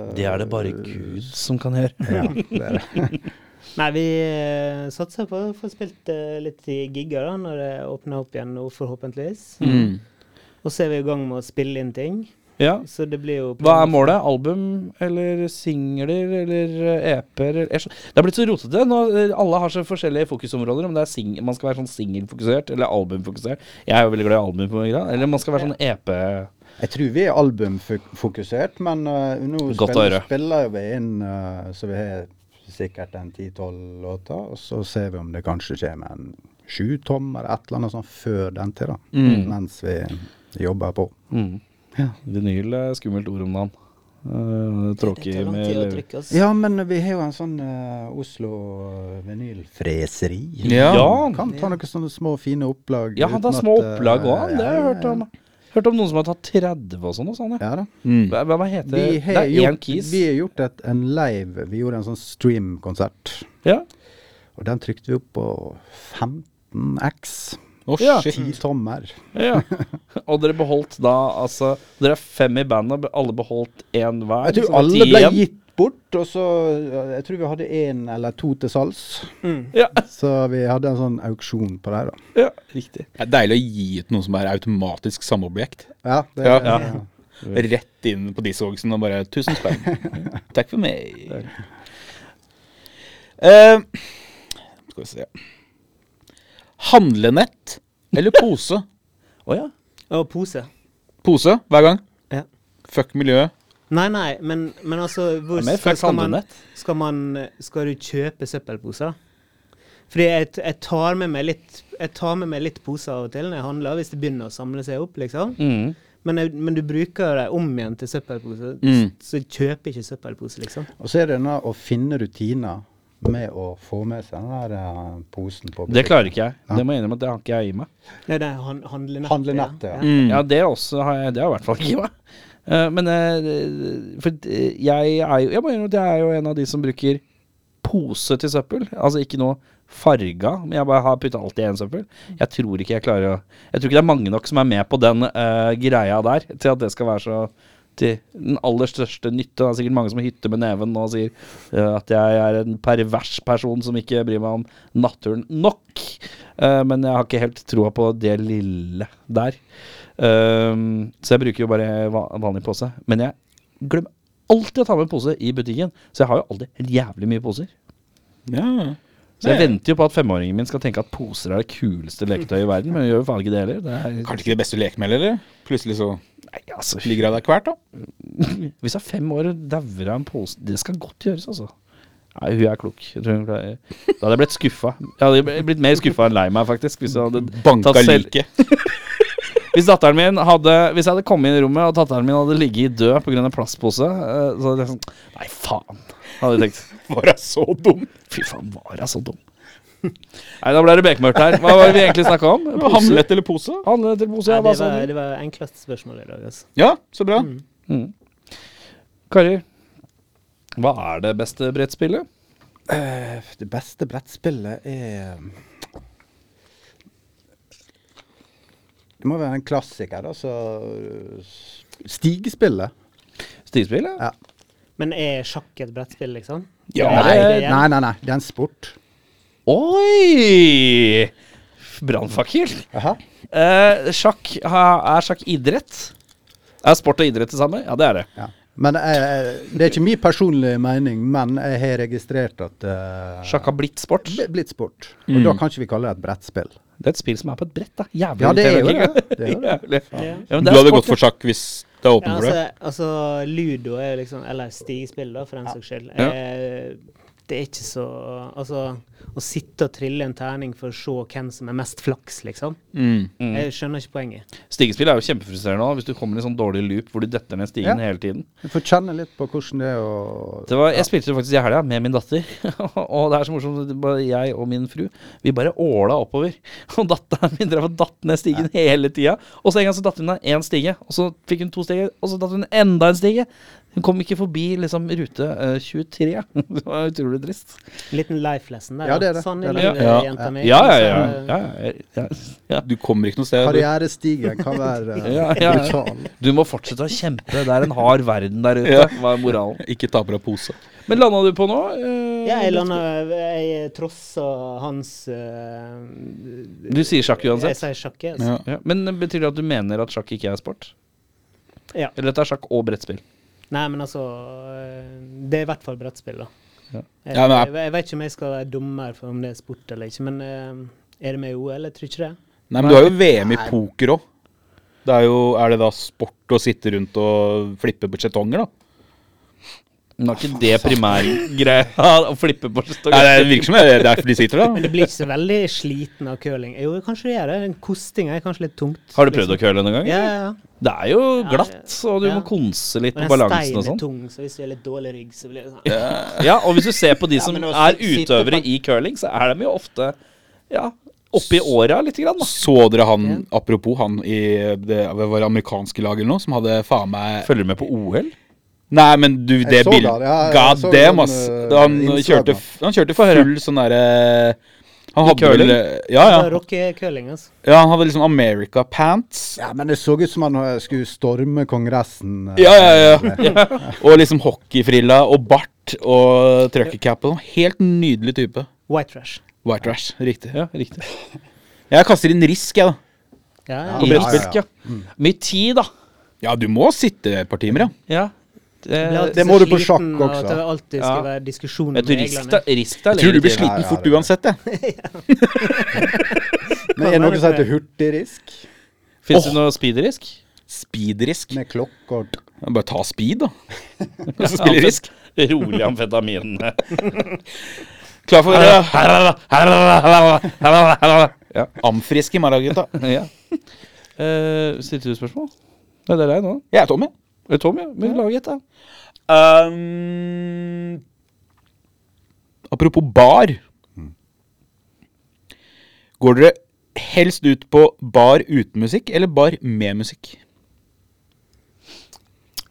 D: uh,
A: Det er det bare Gud som kan gjøre.
D: Ja, det er det.
E: Nei, vi eh, satser på å få spilt eh, litt i gigger da, når det åpner opp igjen nå, forhåpentligvis.
B: Mm.
E: Og så er vi i gang med å spille inn ting.
A: Ja.
E: Så det blir jo
A: Hva er målet? Album eller singler eller eh, EP-er? eller- jeg skjø- Det er blitt så rotete. Nå, eh, alle har så forskjellige fokusområder. Om det er sing man skal være sånn singelfokusert eller albumfokusert. Jeg er jo veldig glad i album. på en grad. Eller man skal være sånn EP
D: Jeg tror vi er albumfokusert, men uh, nå
A: Godt å
D: spiller,
A: høre.
D: spiller vi inn uh, så vi har sikkert en 10-12 låter. Og så ser vi om det kanskje kommer en sjutommer eller et eller annet sånt før den tid, da. Mens vi jobber på.
A: mm. Vinyl er skummelt ord om dagen.
D: eh,
A: Uh, Tråkig
E: med
A: med
E: tid å
A: lever.
E: trykke oss.
D: Ja, men vi har jo en sånn eh, Oslo eh, vinylfreseri.
B: Ja.
A: Ja.
D: Kan ta noen sånne små fine opplag.
A: Ja, han
D: uten
A: har
D: at,
A: små
D: eh,
A: opplag òg, han. Det har jeg
D: ja,
A: hørt om. Hørt om noen som har tatt 30 og sånn. og sånn, ja.
D: Ja da.
B: Mm.
A: Hva, hva heter
D: Vi
A: det?
D: har
A: er én
D: gjort,
A: kis.
D: vi har gjort et, en live Vi gjorde en sånn stream-konsert.
A: Ja.
D: Og den trykte vi opp på 15X.
B: Å,
A: Ja.
B: shit.
D: Ti tommer.
A: Ja. Og dere beholdt da altså Dere er fem i bandet, og alle beholdt én hver?
D: Jeg tror
A: liksom,
D: alle
A: ti
D: ble
A: igjen.
D: gitt bort, og så eh, Jeg tror vi hadde én eller to til salgs.
A: Ja,
D: Så vi hadde en sånn auksjon på det. da.
A: ja, riktig.
B: Det er deilig å gi ut noe som er automatisk samme objekt.
D: Ja, det,
B: Ja.
A: Mm.
B: Rett inn på discogsen og bare 'tusen spenn'. Takk for meg. Eh, skal vi se Handlenett eller pose?
A: Å ja.
E: Og pose.
B: Pose hver gang.
E: Ja.
B: Fuck miljøet.
E: Nei, nei, men, men altså hvor,
A: mer
E: skal,
A: fuck
E: skal, man,
A: handlenett.
E: skal man Skal du kjøpe søppelposer, da? Fordi jeg, jeg, tar med meg litt, jeg tar med meg litt poser av og til når jeg handler, hvis det begynner å samle seg opp, liksom.
A: Mm.
E: Men, jeg, men du bruker dem om igjen til søppelpose,
B: Mm.
E: så jeg kjøper ikke søppelpose, liksom.
D: Og så er det denne å finne rutiner med å få med seg den der eh, posen på
A: Det klarer ikke jeg. Det må jeg innrømme at det har ikke jeg i meg.
E: Nei, det er han, handlenettet.
D: Handlenettet, ja.
A: Ja, det også har jeg Det har jeg i hvert fall ikke meg. Eh, men eh, For eh, jeg er jo Jeg må innrømme at jeg er jo en av de som bruker pose til søppel. Altså ikke noe farga, men jeg bare har putta alt i én søppel. Jeg tror ikke jeg klarer å Jeg tror ikke det er mange nok som er med på den eh, greia der, til at det skal være så til den aller største nytte. Det er sikkert mange som hytter med neven nå og sier eh, at jeg er en pervers person som ikke bryr meg om naturen nok. Eh, men jeg har ikke helt troa på det lille der. Ehm, så jeg bruker jo bare va- vanlig pose. Men jeg glemmer alltid å ta med pose i butikken, så jeg har jo alltid jævlig mye poser.
B: Ja.
A: Så jeg venter jo på at femåringen min skal tenke at poser er det kuleste leketøyet i verden, men hun gjør jo faen ikke det heller. Det er,
B: Kanskje ikke det beste å leke med, eller? Plutselig så
A: nei, altså,
B: ligger jeg der hvert, da.
A: hvis jeg er fem år og dauer av en pose Det skal godt gjøres, altså. Nei, hun er klok. Jeg tror hun klarer- Da hadde jeg blitt skuffa. Jeg hadde bl- blitt mer skuffa enn lei meg, faktisk. Hvis, jeg hadde
B: Banka
A: tatt selv-
B: like.
A: hvis datteren min hadde Hvis jeg hadde kommet inn i rommet, og datteren min hadde ligget i død pga. en plastpose, eh, så hadde jeg sånn Nei, faen, hadde jeg tenkt.
B: Var jeg så dum?
A: Fy faen, var jeg så dum? Nei, da ble det bekmørkt her. Hva var det vi egentlig snakka om? Pose?
B: Hamlet eller pose?
A: Handlet til pose,
E: Nei,
A: ja, hva
E: det,
A: sa
E: var,
A: du?
E: det var enkleste spørsmål i dag, altså.
B: Ja, så bra.
A: Mm. Kari, hva er det beste brettspillet?
D: Eh, Det beste brettspillet er Det må være en klassiker, da. Så s- Stigespillet.
A: Stigspill, ja.
D: Ja.
E: Men er sjakk et brettspill, liksom?
A: Ja,
D: nei,
E: det er-
D: nei, nei, nei. Det er en sport.
A: Oi! Brannfakkel.
D: Aha.
A: Eh, sjakk, ha- er sjakk idrett? Er sport og idrett det samme? Ja, det er det.
D: Ja. Men eh, det er ikke min personlige mening, men jeg har registrert at eh,
A: Sjakk har blitt sport.
D: bl-
A: Det
D: blitt sport. Og da kan ikke vi kalle det et brettspill.
A: er et spill som er på et brett, da. Jævlig
D: Ja, det er jo
A: irriterende.
D: det. det, er jo det.
A: Jævlig.
E: Ja.
A: Ja, men
B: Du
A: det er
B: hadde
A: sport,
B: gått for sjakk hvis det er
E: Ja,
B: åpent for
E: altså,
B: det?
E: altså, ludo er jo liksom Eller stigespill, da, for den saks skyld.
B: Ja.
E: Eh, det er ikke så Altså, å sitte og trille en terning for å se hvem som er mest flaks, liksom.
B: Mm.
E: Jeg skjønner ikke poenget.
A: Stigespill er jo kjempefrustrerende også, hvis du kommer i en sånn dårlig loop hvor du detter ned stigen
D: Ja.
A: hele tiden.
D: Du får kjenne litt på hvordan det er å
A: Det var, jeg spilte det faktisk i helga med min datter. og det er så morsomt. det bare Jeg og min fru Vi bare åla oppover. Og datteren min drev og datt ned stigen hele tida. Og så en gang så datt hun ned én stige, og så fikk hun to stiger, og så datt hun enda en stige. Hun kom ikke forbi liksom rute eh, 23. det var utrolig trist.
E: En liten life lesson der.
D: Ja, det er
E: da.
D: det.
E: Sånn
D: Det
E: er
D: er
E: livet,
B: det. Ja.
E: jenta mi. Altså,
A: Ja, ja, ja.
E: Så,
A: ja, ja, ja,
B: Du kommer ikke noe sted. Du,
D: Karrierestigen kan være eh,
A: ja, ja, ja.
D: brutal.
A: Du må fortsette å kjempe. Det er en hard verden der ute,
B: Ja.
A: var moralen.
B: ikke ta på deg pose.
A: Men landa du på nå? eh,
E: Ja, jeg landa Jeg trossa hans eh,
A: Du sier sjakk
E: Jeg
A: uansett?
E: sier sjakk, jeg.
B: Ja.
E: altså.
A: Ja, men eh, betyr det at du mener at sjakk ikke er sport?
E: Ja.
A: Eller at det er sjakk og brettspill?
E: Nei, men altså eh, Det er i hvert fall brettspill, da.
A: Ja.
E: Jeg,
B: Ja, men
E: jeg,
B: jeg-
E: jeg vet ikke om jeg skal være dommer for om det er sport eller ikke, men eh, er det med i OL? Jeg tror ikke det.
B: Nei, men du har jo VM i poker òg. Det er, jo, er det da sport å sitte rundt og flippe på skjetonger, da?
A: Men er ikke det primærgreia å flippe på
B: Nei,
A: stokk?
B: det virker som det er derfor de sitter der.
E: Men du blir ikke så veldig sliten av curling. Jo, kanskje du gjør det. Den kostinga er kanskje litt tungt.
A: Har du prøvd å curle noen gang?
E: Ja, ja, ja.
A: Det er jo glatt, og du
E: Ja.
A: må konse litt
E: Og
A: på
E: den
A: balansen og
E: steinen er
A: sånn.
E: tung, så hvis du har litt dårlig rygg, så blir det sånn.
A: Ja, og hvis du ser på de som
E: men å
A: er
E: sit- sitte
A: utøvere
E: fast-
A: i curling, så er de jo ofte ja, oppi åra lite grann, da.
B: Så dere han, apropos han i det, det var amerikanske lag eller noe, som hadde faen meg
A: Følger du med på OL?
B: Nei, men du, det
D: så
B: bildet
D: det, ja, jeg
B: God
D: så
B: damn,
D: noen,
B: ass.
D: eh,
B: Han
D: innslag,
B: kjørte,
D: da.
B: f- han kjørte full sånn derre Han
A: I
B: hadde vel
A: curling?
B: eh, ja,
E: Ja.
B: ja.
E: Rocke curling, altså.
B: ja, han hadde liksom America pants.
D: Ja, men det så ut som han eh, skulle storme Kongressen. eh.
B: Ja, ja, ja. Og liksom hockeyfrilla og bart og truckercap. og sånn. Helt nydelig type.
E: White trash.
B: White trash, riktig.
A: Ja, riktig.
B: Jeg kaster inn risk, jeg, da.
D: Ja,
A: På
E: Ja, ja. Mm.
A: brettspill, ja. Mye tid, da.
B: Ja, du må sitte et par timer, ja.
A: Ja.
E: Jeg blir
A: Det,
E: alltid
D: Det
E: så
D: må du på
E: sliten
D: sjakk
E: av
D: også.
E: At det alltid skal
A: Ja.
E: være diskusjoner
A: vet du,
E: med
A: Eh, risk
E: reglene.
A: deg risk deg
B: Jeg tror du
A: lenger
B: blir
A: til.
B: sliten
D: Ja, ja,
B: fort
D: det-
B: uansett, jeg.
D: Men er det noe som heter hurtigrisk?
A: Fins
B: Åh.
A: det noe speedrisk?
B: Speedrisk.
D: Med klokke og
B: Ja, Bare ta speed, da. Og så spille risk.
A: Rolig amfetamin.
B: Klar for eh,
A: ja.
B: amfrisk i morgen, gutta.
A: ja. Eh, stilte du spørsmål? Nei, det er deg nå.
B: Jeg er Tommy.
A: Eller Tom, ja. Men lag et, da.
B: Um, apropos bar. Mm. Går dere helst ut på bar uten musikk eller bar med musikk?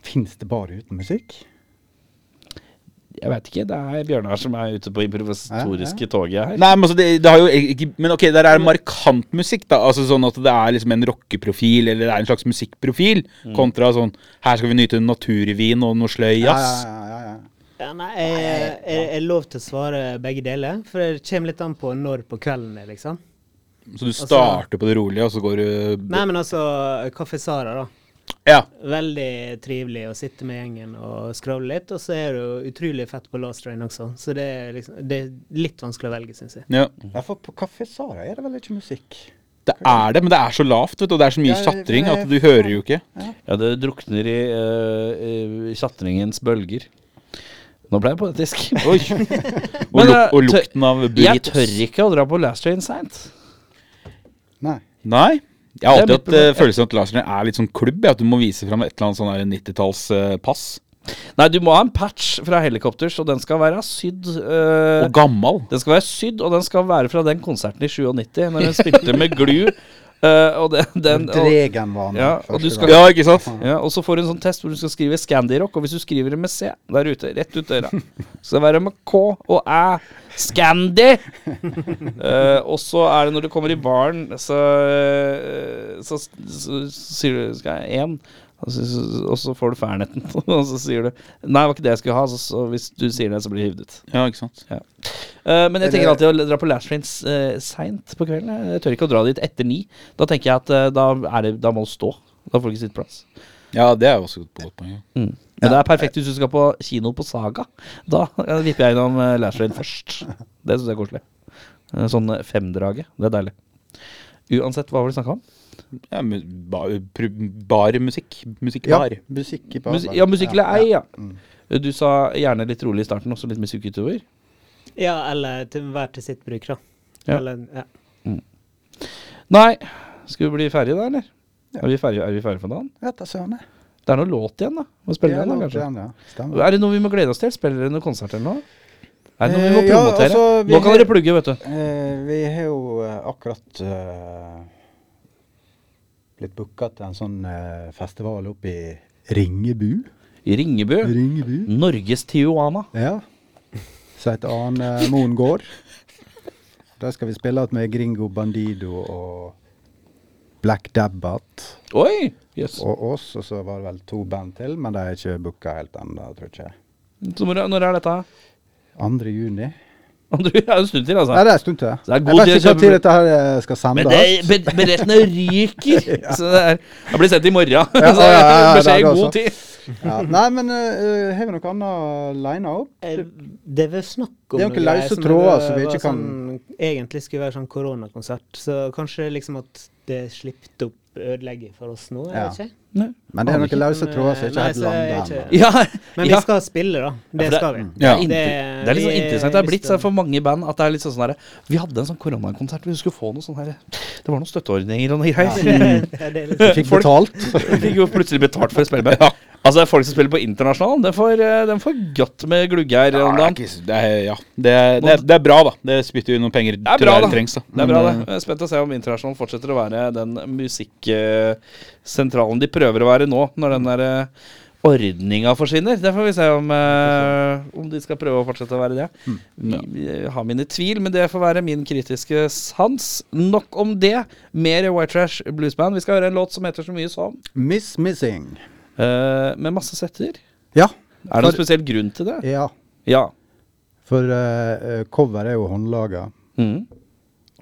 D: Fins det bare uten musikk?
A: Jeg veit ikke. Det er Bjørnar som er ute på improvisatoriske toget her.
B: Nei, men, altså, det, det har jo ikke, men ok, der er markant musikk, da. Altså Sånn at det er liksom en rockeprofil, eller det er en slags musikkprofil, kontra sånn Her skal vi nyte en naturvin og noe sløy jazz.
D: Ja, ja, ja, ja.
E: Ja, nei, jeg, jeg, jeg er lov til å svare begge deler, for det kommer litt an på når på kvelden det er, liksom.
B: Så du starter på det rolige, og så går du
E: Nei, men altså, Kaffe Sara, da.
B: Ja.
E: Veldig trivelig å sitte med gjengen og skravle litt. Og så er det jo utrolig fett på last train også, så det er, liksom, det er litt vanskelig å velge, syns jeg.
B: ja.
D: ja. For på Kafé Sara er det vel ikke musikk?
B: Det er det, men det er så lavt, vet du, og det er så mye
D: Ja,
B: tjatring at
D: jeg-
B: du hører jo ikke.
A: Ja, det drukner i eh, eh, tjatringens bølger. Nå ble jeg poetisk.
B: Oi. og,
A: Men,
B: luk
A: eh,
B: og lukten av
A: Jeg
B: burritos.
A: tør ikke å dra på Last Train seint.
D: Nei.
B: Nei. Jeg har
A: Det er
B: alltid
A: mitt
B: hatt eh,
A: problem.
B: følelsen av at Larsen er litt sånn klubb. ja, At du må vise fram et eller annet sånn her eh, 90-tallspass.
A: Nei, du må ha en patch fra helikopters, og den skal være sydd eh,
B: og gammal.
A: Den skal være sydd, og den skal være fra den konserten i 97, når den spilte med glu. eh, og, det, den, og,
D: Dregen var han
A: Ja, og
D: første
A: du skal-
D: gang.
B: Ja, ikke sant?
A: ja, og så får du en sånn test hvor du skal skrive Scandirock, og hvis du skriver det med C der ute, rett ut døra, så skal det være med K og Æ. Scandi! Eh, og så er det når du kommer i baren, så, eh, så, så, så sier du Skal jeg én? Og så, så- og så får du Fernetten, og så sier du Nei, det var ikke det jeg skulle ha. Så, så hvis du sier det, så blir det hivd ut.
B: Ja, ikke sant?
A: Eh, men jeg tenker
D: Eller-
A: alltid å dra på last trains uh, seint på kvelden. Jeg- Jeg tør ikke å dra dit etter ni. Da tenker jeg at eh, da, er det, da må du stå. Da får du ikke sittplass.
B: Ja, det er jo også et godt poeng. ja.
A: Mm. Men det er perfekt hvis du skal på kino på Saga. Da eh, vipper jeg innom eh, last train først. Det syns jeg er koselig. Eh, Sånn eh, femdraget. Det er deilig. Uansett, hva var det snakka om?
B: Ja, mu- ba- pr- Bar musikk.
D: Ja,
B: Musikkbar.
D: musikk i bar.
A: Musi ja, musikk eller ei, ja.
D: Mm.
A: Eh, Du sa gjerne litt rolig i starten, også litt musikk utover.
E: Ja, eller til hver til sitt bruk, da.
A: Ja.
E: Eller, ja.
A: Nei, skal vi bli ferdige da, eller? Er vi ferdige, er vi ferdige for dagen?
D: Vet da søren. jeg.
A: Det er noe låt igjen, da. Må spille
D: Ja,
A: den, da,
D: det
A: kanskje.
D: er den, ja. Stemmer.
A: Er det noe vi må glede oss til? Spiller dere noen konsert eller noe? Er det noe vi må
D: Eh, ja,
A: promotere?
D: altså, vi
A: Nå kan
D: har-
A: dere plugge, vet du.
D: Eh, vi har jo eh, akkurat eh, blitt booka til en sånn eh, festival oppe i Ringebu.
A: I Ringebu.
D: Ringebu?
A: Mm. Norges Tijuana.
D: Ja. Som heter Arne Moen gård. Der skal vi spille at med Gringo Bandido og Black Dabbat.
A: Oi! Jøss.
D: Og oss, og så var det vel to band til, men de er ikke booka helt ennå, tror jeg. ikke.
A: Så Når, når er dette?
D: 2. juni.
A: Andre, det er en stund til,
D: Nei,
A: altså.
D: det er en stund til.
A: Så det er
D: Jeg
A: god
D: vet
A: tid å
D: ikke
A: kjøpe
D: når dette her eh, skal
A: Men det,
D: sendes.
A: be- billettene ryker! Så det er Jeg blir sendt i morgen.
D: ja, ja,
A: så
D: ja, det er
A: beskjed i
D: det
A: god
D: også.
A: tid.
D: Ja. Nei, men eh, har vi noe annet lina opp?
E: Eh, Det var snakk om
D: Det er jo ikke
E: noe greier
D: løse
E: som
D: tråder,
E: var-
D: så vi
E: var
D: ikke
E: sånn, Egentlig skulle være sånn koronakonsert, så kanskje liksom at det slippte opp ødelegger for oss nå, jeg
D: Ja.
E: vet ikke.
D: Men det er
E: Ikke,
D: noen løse
E: men,
D: tråder som
E: nei,
D: ikke helt
E: så er
D: lander
E: jeg
D: ennå.
E: ikke-
A: Ja,
E: Men
A: ja.
E: vi skal spille, da. Det
A: for
E: skal vi.
B: Ja.
A: Det, det er litt sånn
E: vi-
A: interessant. Det er blitt
E: vi skal-
A: sånn for mange band at det er litt sånn sånn herre Vi hadde en sånn koronakonsert. Vi skulle få noe sånn herre Det var noen støtteordninger og noe greier.
E: Ja, det er litt-
D: Fikk
A: Folk-
D: betalt.
A: Vi fikk jo plutselig betalt for å spille med. Altså, det er folk som spiller på internasjonal, den får, eh, den får godt med glugger om
B: Ja, det er
A: dagen.
B: ikke så- det er, ja. det, er, det, er, det er bra, da. Det spytter jo noen penger
A: Det er
B: til
A: bra,
B: det
A: da.
B: trengs. da. Mm.
A: Det er bra, det.
B: Men,
A: Jeg er spent å se om internasjonal fortsetter å være den musikksentralen de prøver å være nå, når den der eh, ordninga forsvinner. Det får vi se om, eh, om de skal prøve å fortsette å være det.
B: Mm,
A: Jeg har mine tvil, men det får være min kritiske sans. Nok om det. Mer White Trash Bluesband. Vi skal høre en låt som heter så mye som
D: Miss Missing.
A: eh, Med masse setter.
D: Ja.
A: Er det noen
D: for,
A: spesiell grunn til det?
D: ja.
A: Ja.
D: For eh, eh, cover er jo håndlaga.
A: Mm.
D: Og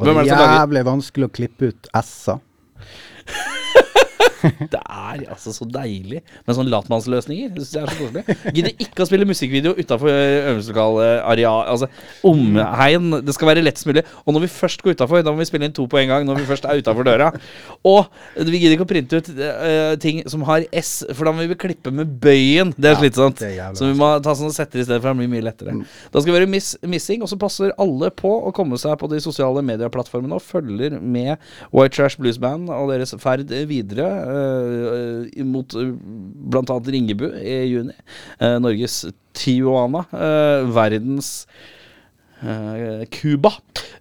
A: Hvem er
D: det
A: det
D: er
A: som lager-
D: jævlig vanskelig å klippe ut s-er.
A: Det er altså så deilig med sånne latmannsløsninger. Jeg synes Det er så koselig. Gidder ikke å spille musikkvideo utafor øvelseslokalet. Altså, omheien. Det skal være lettest mulig. Og når vi først går utafor, da må vi spille inn to på en gang. Når vi først er utenfor døra Og vi gidder ikke å printe ut eh, ting som har S, for da må vi klippe med bøyen. Det er slitsomt.
D: det er jævlig
A: Så vi må ta sånne setter i stedet, for det blir mye lettere.
D: Mm.
A: Da skal vi være miss missing, og så passer alle på å komme seg på de sosiale medieplattformene og følger med White Trash Blues Band og deres ferd videre eh, mot eh, blant annet Ringebu i juni. Eh, Norges Tijuana. eh, verdens eh, Cuba.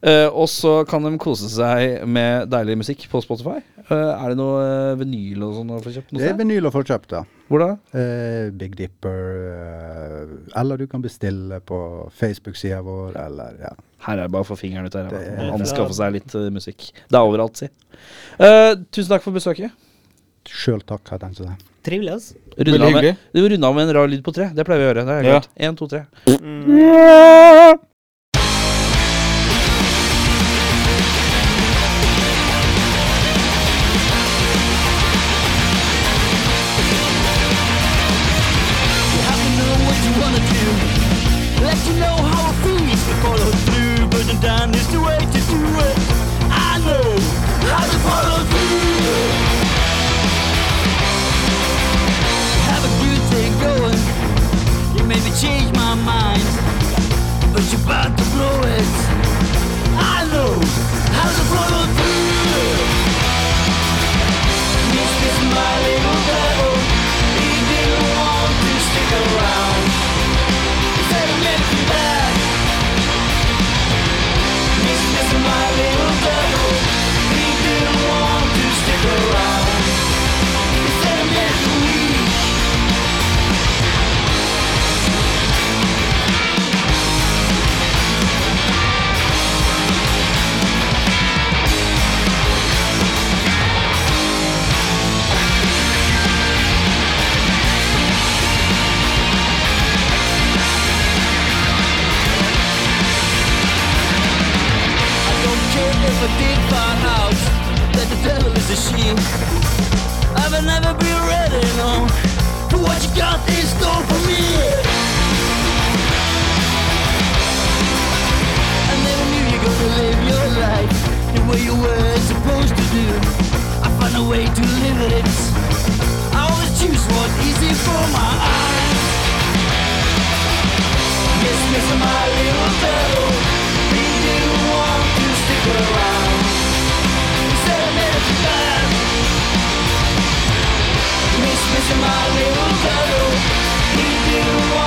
A: Eh, og så kan de kose seg med deilig musikk på Spotify. Eh, er det noe eh, vinyl og sånn å få kjøpt? Noe
D: Det er
A: sted?
D: vinyl å få kjøpt, ja.
A: Hvor da?
D: Eh, Big Dipper. eh, eller du kan bestille på Facebook-sida vår, eller ja.
A: Her er det bare å få fingeren ut av
D: Det
A: ræva.
D: er-
A: Anskaffe seg litt eh, musikk. Det er overalt, si. Eh, tusen takk for besøket.
D: Sjøl takk, har jeg tenkt å si.
E: Trivelig, altså.
A: Runde
B: Veldig
A: av, med,
B: hyggelig.
A: du runde av med en rar lyd på tre. Det pleier vi å gjøre. Det er
B: Ja.
A: greit. En, to, tre.
F: have to know what you wanna do. Let you know how I feel is to follow through, but the down is the way to do it. I know how to follow through. Have a good day going. You made me change my mind, but you're about to blow it. I know how to follow through. This is my little devil. He didn't want to stick around. Said I meant you back. This is my little devil. He didn't want to stick around. Said I meant you leave. I don't care if I did find out that the devil is a she. I will never be ready, no, for what you got in store for me. I never knew you're gonna live your life the way you were supposed to do. I found a way to live it. I always choose what's easy for my eyes. Yes, yes, my little devil. He didn't want to stick around. He said I met you back. Miss, miss, my little devil. He didn't want